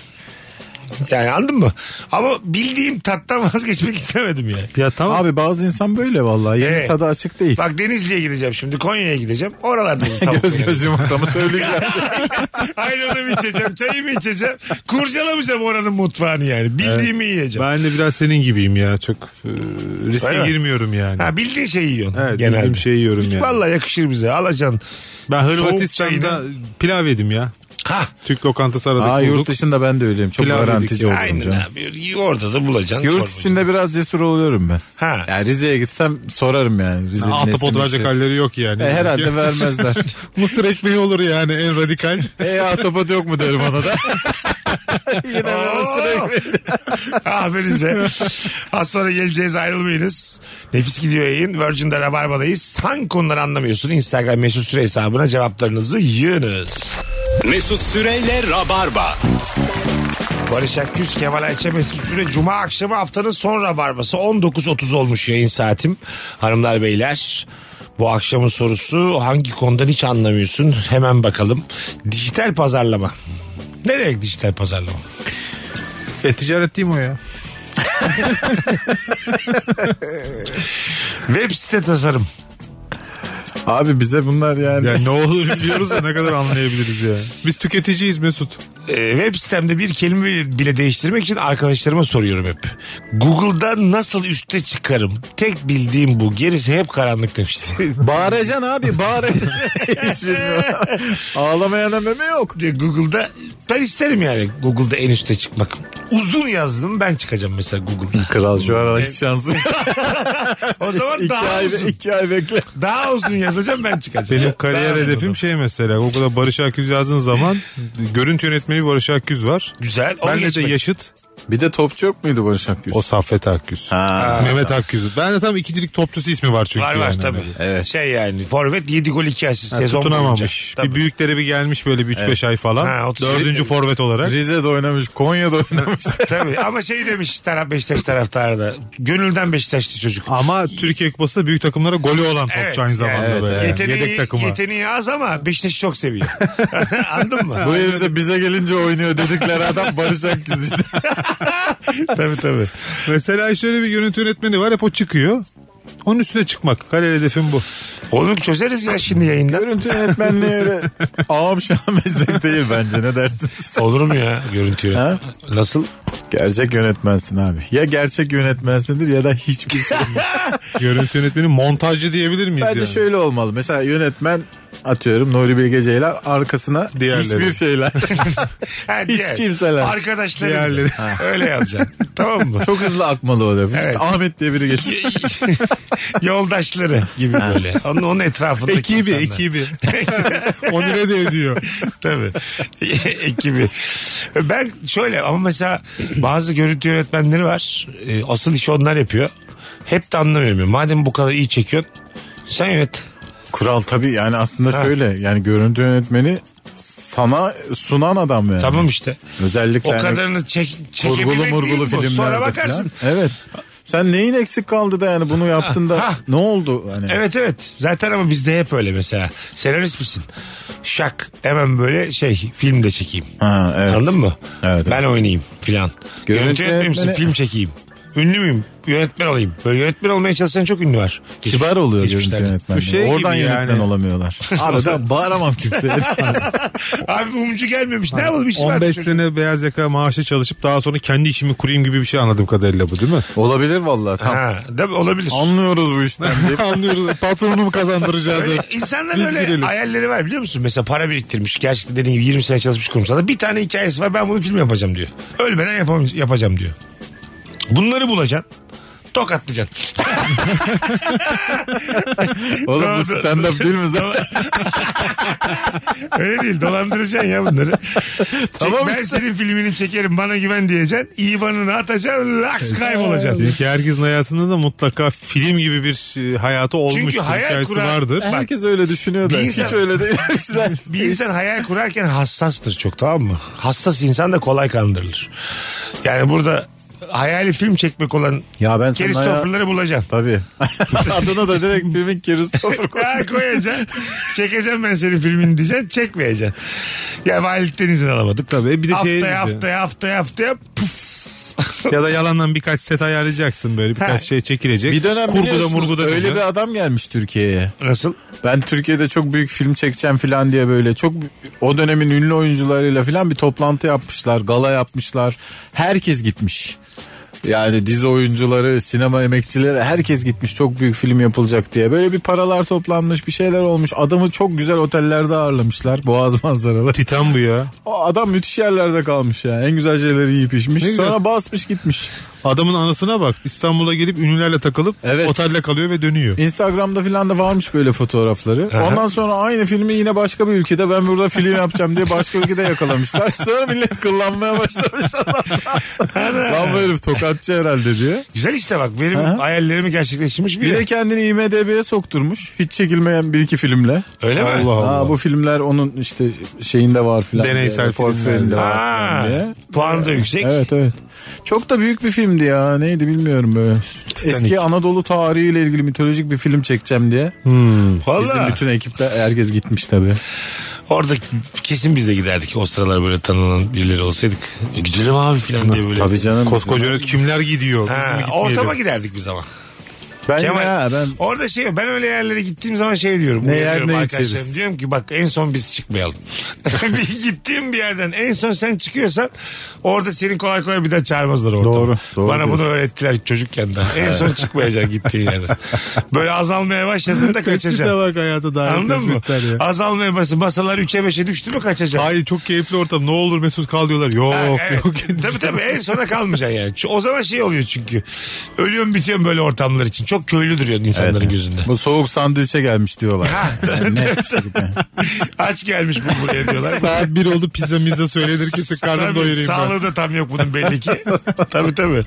C: Yani anladın mı? Ama bildiğim tattan vazgeçmek istemedim yani.
E: Ya tamam.
D: Abi bazı insan böyle vallahi. Yeni
C: Evet.
D: tadı açık değil.
C: Bak Denizli'ye gideceğim şimdi. Konya'ya gideceğim. Oralarda bir tavuk
D: göz
C: yerim.
D: göz yumurtamı söyleyeceğim.
C: Ayranımı içeceğim. Çayımı içeceğim. Kurcalamayacağım oranın mutfağını yani. Bildiğimi yiyeceğim.
E: Ben de biraz senin gibiyim ya. Çok e, riske
C: Öyle mi?
E: girmiyorum yani.
C: Ha, bildiğin şeyi yiyorsun.
E: Evet,
C: genelde.
E: bildiğim şeyi yiyorum yani.
C: Valla yakışır bize. Alacaksın.
E: ben
C: Soğuk
E: Hırvatistan'da pilav yedim ya.
C: Ha.
E: Türk lokantası aradık
D: Aa,
E: bulduk.
D: yurt dışında ben de öyleyim. Çok
E: Pilav yedik.
D: garantici oldum
C: Aynen
D: canım.
C: abi. Orada da bulacaksın.
D: Yurt
C: çorba.
D: içinde biraz cesur oluyorum ben.
C: Ha.
D: Yani Rize'ye gitsem sorarım yani. Rize'nin
E: Ahtapot
D: nesini
E: verecek
D: işte.
E: halleri yok yani.
D: E, herhalde vermezler.
E: Mısır ekmeği olur yani en radikal.
D: e ahtapot yok mu derim ona da. Yine
C: Oo!
D: bana sürekli.
C: Aferinize. Az sonra geleceğiz ayrılmayınız. Nefis gidiyor yayın. Virgin'de Rabarba'dayız. Hangi konuları anlamıyorsun? Instagram mesut süre hesabına cevaplarınızı yığınız.
B: Mesut Süreyle Rabarba.
C: Barış Akgüz, Kemal Ayça, Mesut Süre. Cuma akşamı haftanın son Rabarba'sı. 19.30 olmuş yayın saatim. Hanımlar beyler. Bu akşamın sorusu hangi konudan hiç anlamıyorsun? Hemen bakalım. Dijital pazarlama. Ne demek dijital pazarlama?
E: e ticaret değil mi o ya?
C: Web site tasarım.
D: Abi bize bunlar yani.
E: Yani ne olur biliyoruz da ne kadar anlayabiliriz ya. Biz tüketiciyiz Mesut.
C: e, web sitemde bir kelime bile- bile değiştirmek için arkadaşlarıma soruyorum hep. Google'da nasıl üste çıkarım? Tek bildiğim bu. Gerisi hep karanlık demiş.
D: Bağıracaksın abi bağır. Hiç bilmiyorum. Ağlamayana meme yok.
C: Diye Google'da ben isterim yani Google'da en üste çıkmak. Uzun yazdım ben çıkacağım mesela Google'da.
D: Kral şu aralar hiç şansı.
C: O zaman
D: iki,
C: daha
D: ay,
C: uzun.
D: iki ay bekle.
C: Daha uzun yazacağım ben çıkacağım.
E: Benim kariyer
C: Daha uzun.
E: hedefim şey mesela. O kadar Barış Akgüz yazdığın zaman görüntü yönetmeni Barış Akgüz var.
C: Güzel. Onu
E: Benle de
C: geçmek.
E: yaşıt
D: Bir de topçu yok muydu Barış Akgüz?
E: o Saffet Akgüz. Mehmet Akgüz. Ben de tam ikincilik topçusu ismi var çünkü.
C: Var var
E: yani.
C: tabii.
D: Evet.
C: Şey yani forvet 7 gol 2 asist
E: Yani
C: sezon
E: tutunamamış.
C: boyunca.
E: Bir büyüklere bir gelmiş böyle bir 3-5 ay falan.
C: Ha, otuz-
E: Dördüncü forvet olarak.
D: Rize'de oynamış, Konya'da oynamış.
C: Tabii ama şey demiş taraf Beşiktaş taraftarı da. Gönülden Beşiktaşlı çocuk.
E: Ama Türkiye Kupası büyük takımlara golü olan topçu aynı zamanda
D: evet,
E: böyle.
D: evet.
C: Yeteneği,
E: Yedek takıma.
C: yeteneği az ama Beşiktaş'ı çok seviyor. Anladın mı?
D: Bu herif de bize gelince oynuyor dedikleri adam Barış Akgüz işte.
C: tabii tabii.
E: Mesela şöyle bir görüntü yönetmeni var hep o çıkıyor. Onun üstüne çıkmak. Kariyer hedefim bu.
C: Onu çözeriz ya şimdi yayında.
D: Görüntü yönetmenliği öyle ağam şu an meslek değil bence ne dersiniz?
C: Olur mu ya görüntüyü?
D: Ha?
C: Nasıl?
D: Gerçek yönetmensin abi. Ya gerçek yönetmensindir ya da hiçbir şey. değil.
E: Görüntü yönetmeni montajcı diyebilir miyiz
D: bence
E: yani?
D: şöyle olmalı. Mesela yönetmen atıyorum Nuri Bilge Ceylan arkasına
E: Diğerleri.
D: hiçbir şeyler.
C: Ha,
D: Hiç
C: diğer-
D: kimseler.
C: Arkadaşlarım.
E: Diğerleri.
C: Öyle yazacaksın. tamam mı?
D: Çok hızlı akmalı oluyor.
C: Evet.
D: Ahmet diye biri geçiyor.
C: Şey- Yoldaşları gibi böyle. Onun, onun etrafındaki
E: Ekibi,
C: insanlar.
E: ekibi. Onire de ediyor.
C: Tabii. Ekibi. Ben şöyle ama mesela bazı görüntü yönetmenleri var. E, Asıl işi onlar yapıyor. Hep de anlamıyorum. ya. Madem bu kadar iyi çekiyorsun sen yönet.
D: Kral tabii yani aslında şöyle yani görüntü yönetmeni sana sunan adam yani.
C: Tamam işte.
D: Özellikle
C: O
D: yani
C: kadarını çek, çekebilmek
D: kurgulu
C: değil
D: murgulu
C: bu. Sonra
D: filmlerde
C: bakarsın.
D: falan. Evet. Sen neyin eksik kaldı da yani bunu yaptın da
C: ha.
D: ne oldu? Hani
C: Evet evet. Zaten ama bizde hep öyle mesela. Senarist misin? Şak. Hemen böyle şey film de çekeyim.
D: Ha, evet.
C: Anladın mı?
D: Evet.
C: Ben oynayayım filan.
D: Görüntü
C: Görüntü yönetmeni misin?
D: yönetmeni-
C: Film çekeyim. Ünlü müyüm? Yönetmen olayım. Böyle yönetmen olmaya çalışan çok ünlü var.
D: Kibar oluyor görüntü
C: Geçmişlerde.
D: yönetmenleri.
E: Bu şey
D: Oradan
E: gibi yani.
D: yönetmen olamıyorlar. Arada bağıramam kimseye.
C: Abi umcu gelmemiş. Ne yapalım işi var.
E: 15 sene beyaz yaka maaşı çalışıp daha sonra kendi işimi kurayım gibi bir şey anladım kadarıyla bu değil mi?
D: Olabilir vallahi. Tam
C: Ha, değil mi? Olabilir.
D: Anlıyoruz bu işten diye.
E: Anlıyoruz. Patronumu kazandıracağız.
C: Öyle, insanların
E: Biz
C: öyle
E: girelim.
C: hayalleri var biliyor musun? Mesela para biriktirmiş. Gerçekten dediğin gibi 20 sene çalışmış kurumsalda. Bir tane hikayesi var. Ben bunu film yapacağım diyor. Ölmeden yapam yapacağım diyor. Bunları bulacaksın. Tokatlayacaksın.
D: Oğlum bu
C: Doğru.
D: stand up değil mi zaten?
C: Öyle değil dolandıracaksın ya bunları.
D: Tamam
C: Çek, ben
D: işte.
C: senin filmini çekerim bana güven diyeceksin. İvan'ını atacaksın laks kaybolacaksın.
E: Çünkü herkesin hayatında da mutlaka film gibi bir e, hayatı olmuştur.
C: hayal
E: hikayesi
C: kuran-
E: vardır.
C: Bak,
D: Herkes öyle düşünüyor da.
C: Bir
D: Hiç
C: insan-
D: öyle değil. İşler.
C: Bir insan hayal kurarken hassastır çok tamam mı? Hassas insan da kolay kandırılır. Yani burada hayali film çekmek olan
D: Ya ben sana ya...
C: Christopher'ları bulacaksın.
D: Tabii. Adına da direkt filmin Christopher
C: Ya koyacaksın. Çekeceğim ben senin filmini diyeceksin. Çekmeyeceksin. Ya valilikten izin alamadık.
E: Tabii, bir de şey diyeceksin.
C: haftaya, haftaya haftaya haftaya puf.
E: Ya da yalandan birkaç set ayarlayacaksın böyle birkaç
C: Ha.
E: şey çekilecek.
D: Bir dönem
E: Kurguda
D: biliyorsunuz,
E: murguda
D: öyle
E: diyeceksin.
D: bir adam gelmiş Türkiye'ye.
C: Nasıl?
D: Ben Türkiye'de çok büyük film çekeceğim falan diye böyle çok o dönemin ünlü oyuncularıyla falan bir toplantı yapmışlar, gala yapmışlar. Herkes gitmiş. Yani dizi oyuncuları, sinema emekçileri herkes gitmiş çok büyük film yapılacak diye. Böyle bir paralar toplanmış, bir şeyler olmuş. Adamı çok güzel otellerde ağırlamışlar. Boğaz manzaralı.
E: Titan bu ya.
D: O adam müthiş yerlerde kalmış ya. En güzel şeyleri yiyip içmiş.
E: Ne güzel.
D: Sonra basmış gitmiş.
E: Adamın anasına bak. İstanbul'a gelip ünlülerle takılıp
D: Evet.
E: otelde kalıyor ve dönüyor.
D: Instagram'da filan da varmış böyle fotoğrafları. Ondan sonra aynı filmi yine başka bir ülkede ben burada film yapacağım diye başka ülkede yakalamışlar. Sonra millet kullanmaya başlamış adamlar. Lan bu herif tokatçı herhalde diye.
C: Güzel işte bak benim hayallerimi gerçekleştirmiş bir
D: Bir de
C: yer.
D: kendini IMDB'ye sokturmuş. Hiç çekilmeyen bir iki filmle.
C: Öyle mi?
E: Allah Allah.
D: Aa, bu filmler onun işte şeyinde var filan. diye,
E: Deneysel
D: portföyünde var
C: Ha,
D: filan diye.
C: puanı da yüksek.
D: Evet evet. Çok da büyük bir filmdi ya. Neydi bilmiyorum böyle. Eski Anadolu tarihiyle ilgili mitolojik bir film çekeceğim diye. Bizim
C: Valla
D: bütün ekipte herkes gitmiş tabii.
C: orada kesin biz de giderdik. O sıralar böyle tanınan birileri olsaydık. E, Gidelim abi filan diye böyle.
D: Tabii canım.
E: Koskoca yönet- kimler gidiyor? Biz mi
C: Ha,
E: gitmeyelim?
C: ortama giderdik biz ama.
D: Ben
C: Kemal,
D: yine ha, ben
C: Orada şey ben öyle yerlere gittiğim zaman şey diyorum.
D: Ne yer,
C: uyarıyorum
D: ne
C: arkadaşlarım.
D: içeriz?
C: Diyorum ki bak en son biz çıkmayalım. bir gittiğim bir yerden en son sen çıkıyorsan orada senin kolay kolay bir daha çağırmazlar orada.
D: Doğru, doğru
C: Bana bunu
D: diyorsun.
C: öğrettiler çocukken daha. En son çıkmayacaksın gittiğin yerden. Böyle azalmaya başladığında
E: Tespite
C: kaçacaksın.
E: bak hayata dair
C: Anladın mı?
E: tespitler ya.
C: Azalmaya başladın. Masalar 3'e 5'e düştü mü kaçacaksın.
E: Hayır çok keyifli ortam. Ne olur Mesut kal diyorlar. Yok
C: Ha, evet.
E: yok.
C: Ee, e, tabii tabii en sona kalmayacaksın yani. Ç- O zaman şey oluyor çünkü. Ölüyorum bitiyorum böyle ortamlar için. Çok köylü duruyorsun insanların gözünde.
D: bu soğuk sandviçe gelmiş diyorlar. Yani ne
C: Aç gelmiş bu buraya diyorlar.
E: Saat bir oldu pizza mizza söylenir ki karnım
C: Tabii,
E: doyurayım ben.
C: Sağlığı da tam yok bunun belli ki. tabii tabii.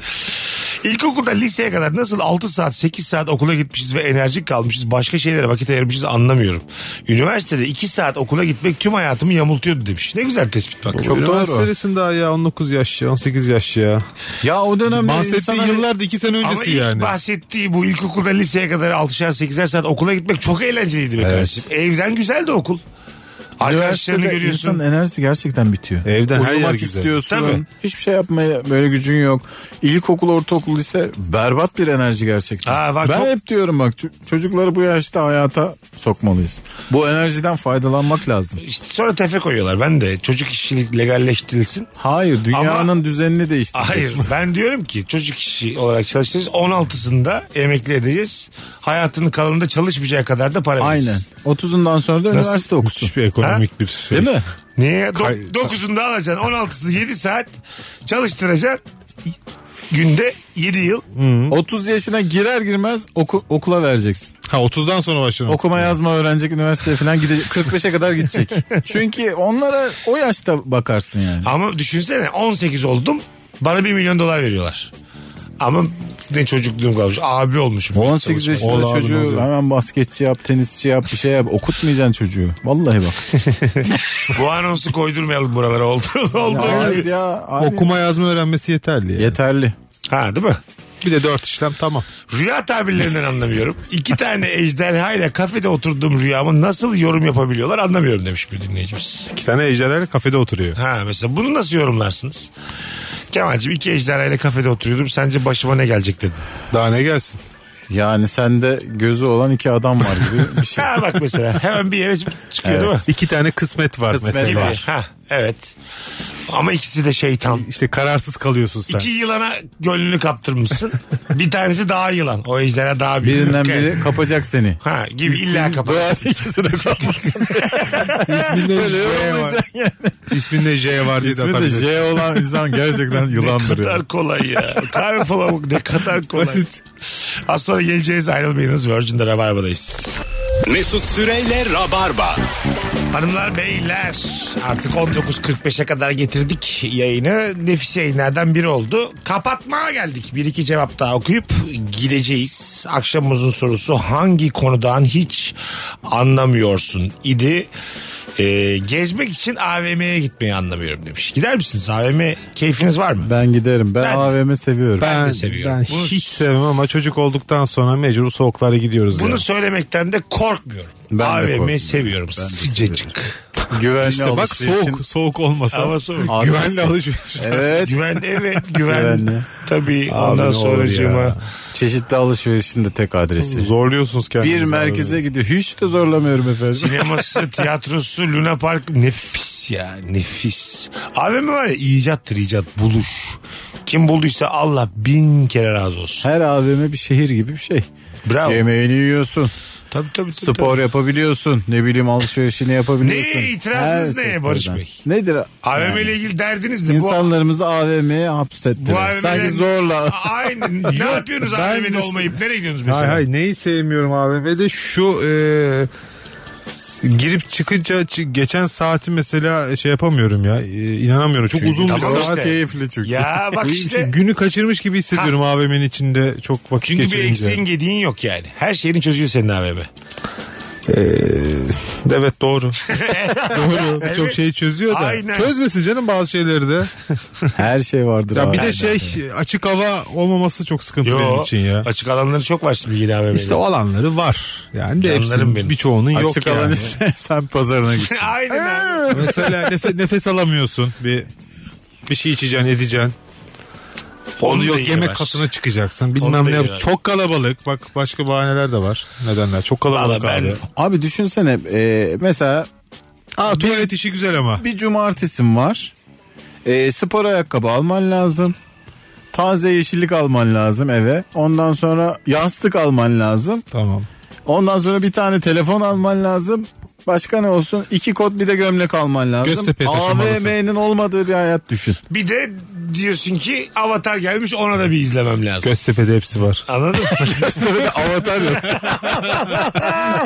C: İlkokulda liseye kadar nasıl 6 saat 8 saat okula gitmişiz ve enerjik kalmışız başka şeylere vakit ayırmışız anlamıyorum. Üniversitede 2 saat okula gitmek tüm hayatımı yamultuyordu demiş. Ne güzel tespit bak.
E: Çok Üniversite
D: doğru.
E: serisinde daha ya 19 yaş ya 18 yaş ya.
D: ya o dönemde
E: Bahsettiği
D: insan-
E: yıllar da 2 sene
C: Ama
E: öncesi
C: ilk
E: yani.
C: bahsettiği bu ilkokulda liseye kadar 6'şar 8'er saat okula gitmek çok eğlenceliydi be kardeşim. Evden güzeldi okul. Arkadaşlarını
D: Üniversitede
C: görüyorsun.
D: insanın enerjisi gerçekten bitiyor.
E: Evden her
D: Uyumak
E: yer güzel.
D: istiyorsun.
C: Tabii.
D: Hiçbir şey yapmaya böyle gücün yok. İlkokul, ortaokul ise berbat bir enerji gerçekten.
C: Ha, var,
D: ben
C: çok-
D: hep diyorum bak ço- çocukları bu yaşta hayata sokmalıyız. Bu enerjiden faydalanmak lazım.
C: İşte sonra tefe koyuyorlar. Ben de çocuk işçilik legalleştirilsin.
D: Hayır dünyanın düzenini değiştireceksin.
C: Hayır ben diyorum ki çocuk işi olarak çalıştırırız. 16'sında emekli edeceğiz. Hayatının kalanında çalışmayacağı kadar da para
D: Aynen.
C: vereceğiz.
D: 30'undan sonra da üniversite okusun.
E: Müthiş bir ekonomik bir şey.
D: Değil mi?
C: Niye?
E: Kay-
C: Do- 9'unda alacaksın 16'sında 7 saat çalıştıracaksın. Günde 7 yıl.
D: 30 yaşına girer girmez oku- okula vereceksin.
E: Ha 30'dan sonra başlamak.
D: Okuma yazma öğrenecek üniversiteye falan gidecek. 45'e kadar gidecek. Çünkü onlara o yaşta bakarsın yani.
C: Ama düşünsene 18 oldum bana 1 milyon dolar veriyorlar. Ama ne çocukluğum kalmış. Abi olmuşum.
D: 18 yaşında
E: Oğlan abi,
D: çocuğu
E: oğlan.
D: hemen basketçi yap, tenisçi yap, bir şey yap. Okutmayacaksın çocuğu. Vallahi bak.
C: Bu anonsu koydurmayalım buralara oldu. oldu.
D: Hayır ya. abi.
E: Okuma yazma öğrenmesi yeterli. yani.
D: Yeterli.
C: Ha değil mi?
E: Bir de dört işlem tamam.
C: Rüya tabirlerinden anlamıyorum. İki tane ejderha ile kafede oturduğum rüyamı nasıl yorum yapabiliyorlar anlamıyorum demiş bir dinleyicimiz.
E: İki tane ejderha kafede oturuyor.
C: Ha mesela bunu nasıl yorumlarsınız? Kemal'cim iki ejderha ile kafede oturuyordum. Sence başıma ne gelecek dedim.
E: Daha ne gelsin?
D: Yani sende gözü olan iki adam var gibi bir şey.
C: Ha bak mesela hemen bir yere çıkıyor değil mi?
E: İki tane kısmet var
D: Kısmet
E: mesela.
C: Gibi. Ha evet. Ama ikisi de şeytan.
E: İşte kararsız kalıyorsun sen.
C: İki yılana gönlünü kaptırmışsın. bir tanesi daha yılan. O ejderha daha büyük.
D: Birinden biri kapacak seni.
C: Ha gibi illa kapat. şey
D: Doğan ikisi de kapmasın.
E: İsminde J var.
D: Olmayacak yani.
E: İsminde J var diye de
D: İsmi de
E: atabilirsin.
D: J olan insan gerçekten
C: Ne
D: yılandır. ya.
C: kadar kolay ya. Kahve falan ne kadar kolay.
D: Basit.
C: Az sonra geleceğiz ayrılmayınız. Virgin'de Rabarba'dayız.
B: Mesut Süreyle Rabarba.
C: Hanımlar beyler artık 19.45'e kadar getirdik yayını. Nefis yayınlardan biri oldu. Kapatmaya geldik. Bir iki cevap daha okuyup gideceğiz. Akşamımızın sorusu hangi konudan hiç anlamıyorsun idi. Ee, gezmek için AVM'ye gitmeyi anlamıyorum demiş. Gider misiniz AVM? Keyfiniz var mı?
D: Ben giderim. Ben,
C: Ben-
D: AVM seviyorum.
C: Ben de seviyorum.
E: Ben
C: Bunu-
E: hiç sevmem ama çocuk olduktan sonra mecbur soğuklara gidiyoruz.
C: Bunu
E: ya.
C: söylemekten de korkmuyorum.
D: Ben de
C: AVM'yi
D: korkmuyorum.
C: seviyorum.
D: Ben de
C: Sıcacık.
D: Güvenli
E: İşte bak
D: alışverişin-
E: soğuk soğuk olmasa
C: Hava soğuk.
D: Adresi.
E: güvenli alışveriş.
D: Evet.
C: Güven evet güven.
D: Güvenli.
C: Tabii
E: Abi
C: ondan
E: ne olur
C: sonra
E: ya.
D: Çeşitli alışverişin de tek adresi.
E: Zorluyorsunuz kendinizi.
D: Bir merkeze gidiyor. Hiç de zorlamıyorum efendim.
C: Sineması, tiyatrosu, Luna Park nefis ya nefis. AVM var ya icattır icat buluş. Kim bulduysa Allah bin kere razı olsun.
D: Her AVM bir şehir gibi bir şey.
C: Bravo.
D: Yemeğini yiyorsun.
C: Tabii tabii. tabii,
D: Spor yapabiliyorsun. Ne bileyim alışverişini yapabiliyorsun.
C: Ne? İtirazınız
D: Her
C: ne Barış
D: sektörden.
C: Bey?
D: Nedir?
C: tabii. AVM
D: Yani
C: ile ilgili derdiniz de bu.
D: İnsanlarımızı AVM'ye hapsettiler.
C: Bu AVM'den
D: Sanki zorla.
C: Aynen. ne yapıyorsunuz
E: ben
C: AVM'de
E: de-
C: olmayıp nereye gidiyorsunuz mesela?
E: Hay hay neyi sevmiyorum AVM'de şu e, s- girip çıkınca çı- geçen saati mesela şey yapamıyorum ya e, inanamıyorum çok uzun bir
C: tamam
E: saat
C: işte.
D: keyifli çünkü.
C: Ya bak
E: Şu
C: işte.
E: günü kaçırmış gibi hissediyorum AVM'nin içinde çok vakit
C: Çünkü bir
E: geçirince.
C: eksiğin gediğin yok yani. Her şeyini çözüyor senin AVM. Ee,
E: Evet doğru. doğru. Birçok şeyi çözüyor da.
C: Aynen.
E: Çözmesin canım bazı şeyleri de.
D: Her şey vardır.
E: Ya bir
D: AVM'de.
E: de şey açık hava olmaması çok sıkıntı benim
C: Yo,
E: için ya.
C: Açık alanları çok var şimdi yine AVM'de.
E: İşte olanları var. Yani de
C: Canlarım
E: hepsinin
C: benim.
E: birçoğunun yok
D: Açık
E: yani.
D: alan istersen pazarına git.
C: Aynen
E: Ee,
C: abi.
E: Mesela nefe- nefes alamıyorsun. Bir bir şey içeceksin, edeceksin.
C: Onun
E: Onu
C: da
E: yok
C: yeri
E: yemek
C: var.
E: katına çıkacaksın.
C: Onun da
E: Bilmem
C: yeri
E: ne.
C: var.
E: Çok kalabalık. Bak başka bahaneler de var. Nedenler. Çok kalabalık
C: Valla ben-
E: abi.
D: Abi düşünsene e, mesela
E: Aa, tuvalet işi güzel ama.
D: bir cumartesim var. E, spor ayakkabı alman lazım. Taze yeşillik alman lazım eve. Ondan sonra yastık alman lazım.
E: Tamam.
D: Ondan sonra bir tane telefon alman lazım. Başka ne olsun? İki kot bir de gömlek alman lazım.
E: Göztepe'ye taşınmalısın.
D: AVM'nin olmadığı bir hayat düşün.
C: Bir de diyorsun ki Avatar gelmiş ona da bir izlemem lazım.
E: Göztepe'de hepsi var.
C: Anladın mı?
D: Göztepe'de avatar yok.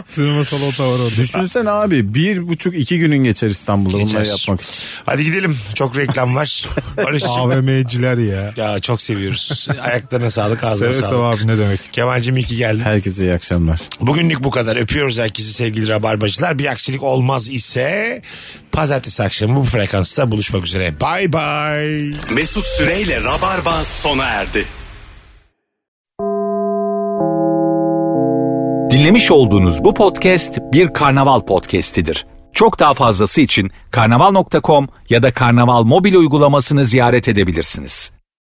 E: Sinema salonu da var orada.
D: Düşünsene abi bir buçuk iki günün geçer İstanbul'da
C: Geçer.
D: bunları yapmak için.
C: Hadi gidelim. Çok reklam var. Barış'cığım.
E: AVM'ciler ya.
C: ya çok seviyoruz. Ayaklarına sağlık, ağzına
E: Seve seve
C: sağlık.
E: abi ne demek.
C: Kemal'cim iyi ki geldin.
D: Herkese iyi akşamlar.
C: Bugünlük bu kadar. Öpüyoruz herkesi sevgili rabarbacılar. Bir aksilik olmaz ise pazartesi akşamı bu frekansta buluşmak üzere. Bay bay.
B: Mesut Süreyle Rabarba sona erdi.
A: Dinlemiş olduğunuz bu podcast bir karnaval podcastidir. Çok daha fazlası için karnaval.com ya da karnaval mobil uygulamasını ziyaret edebilirsiniz.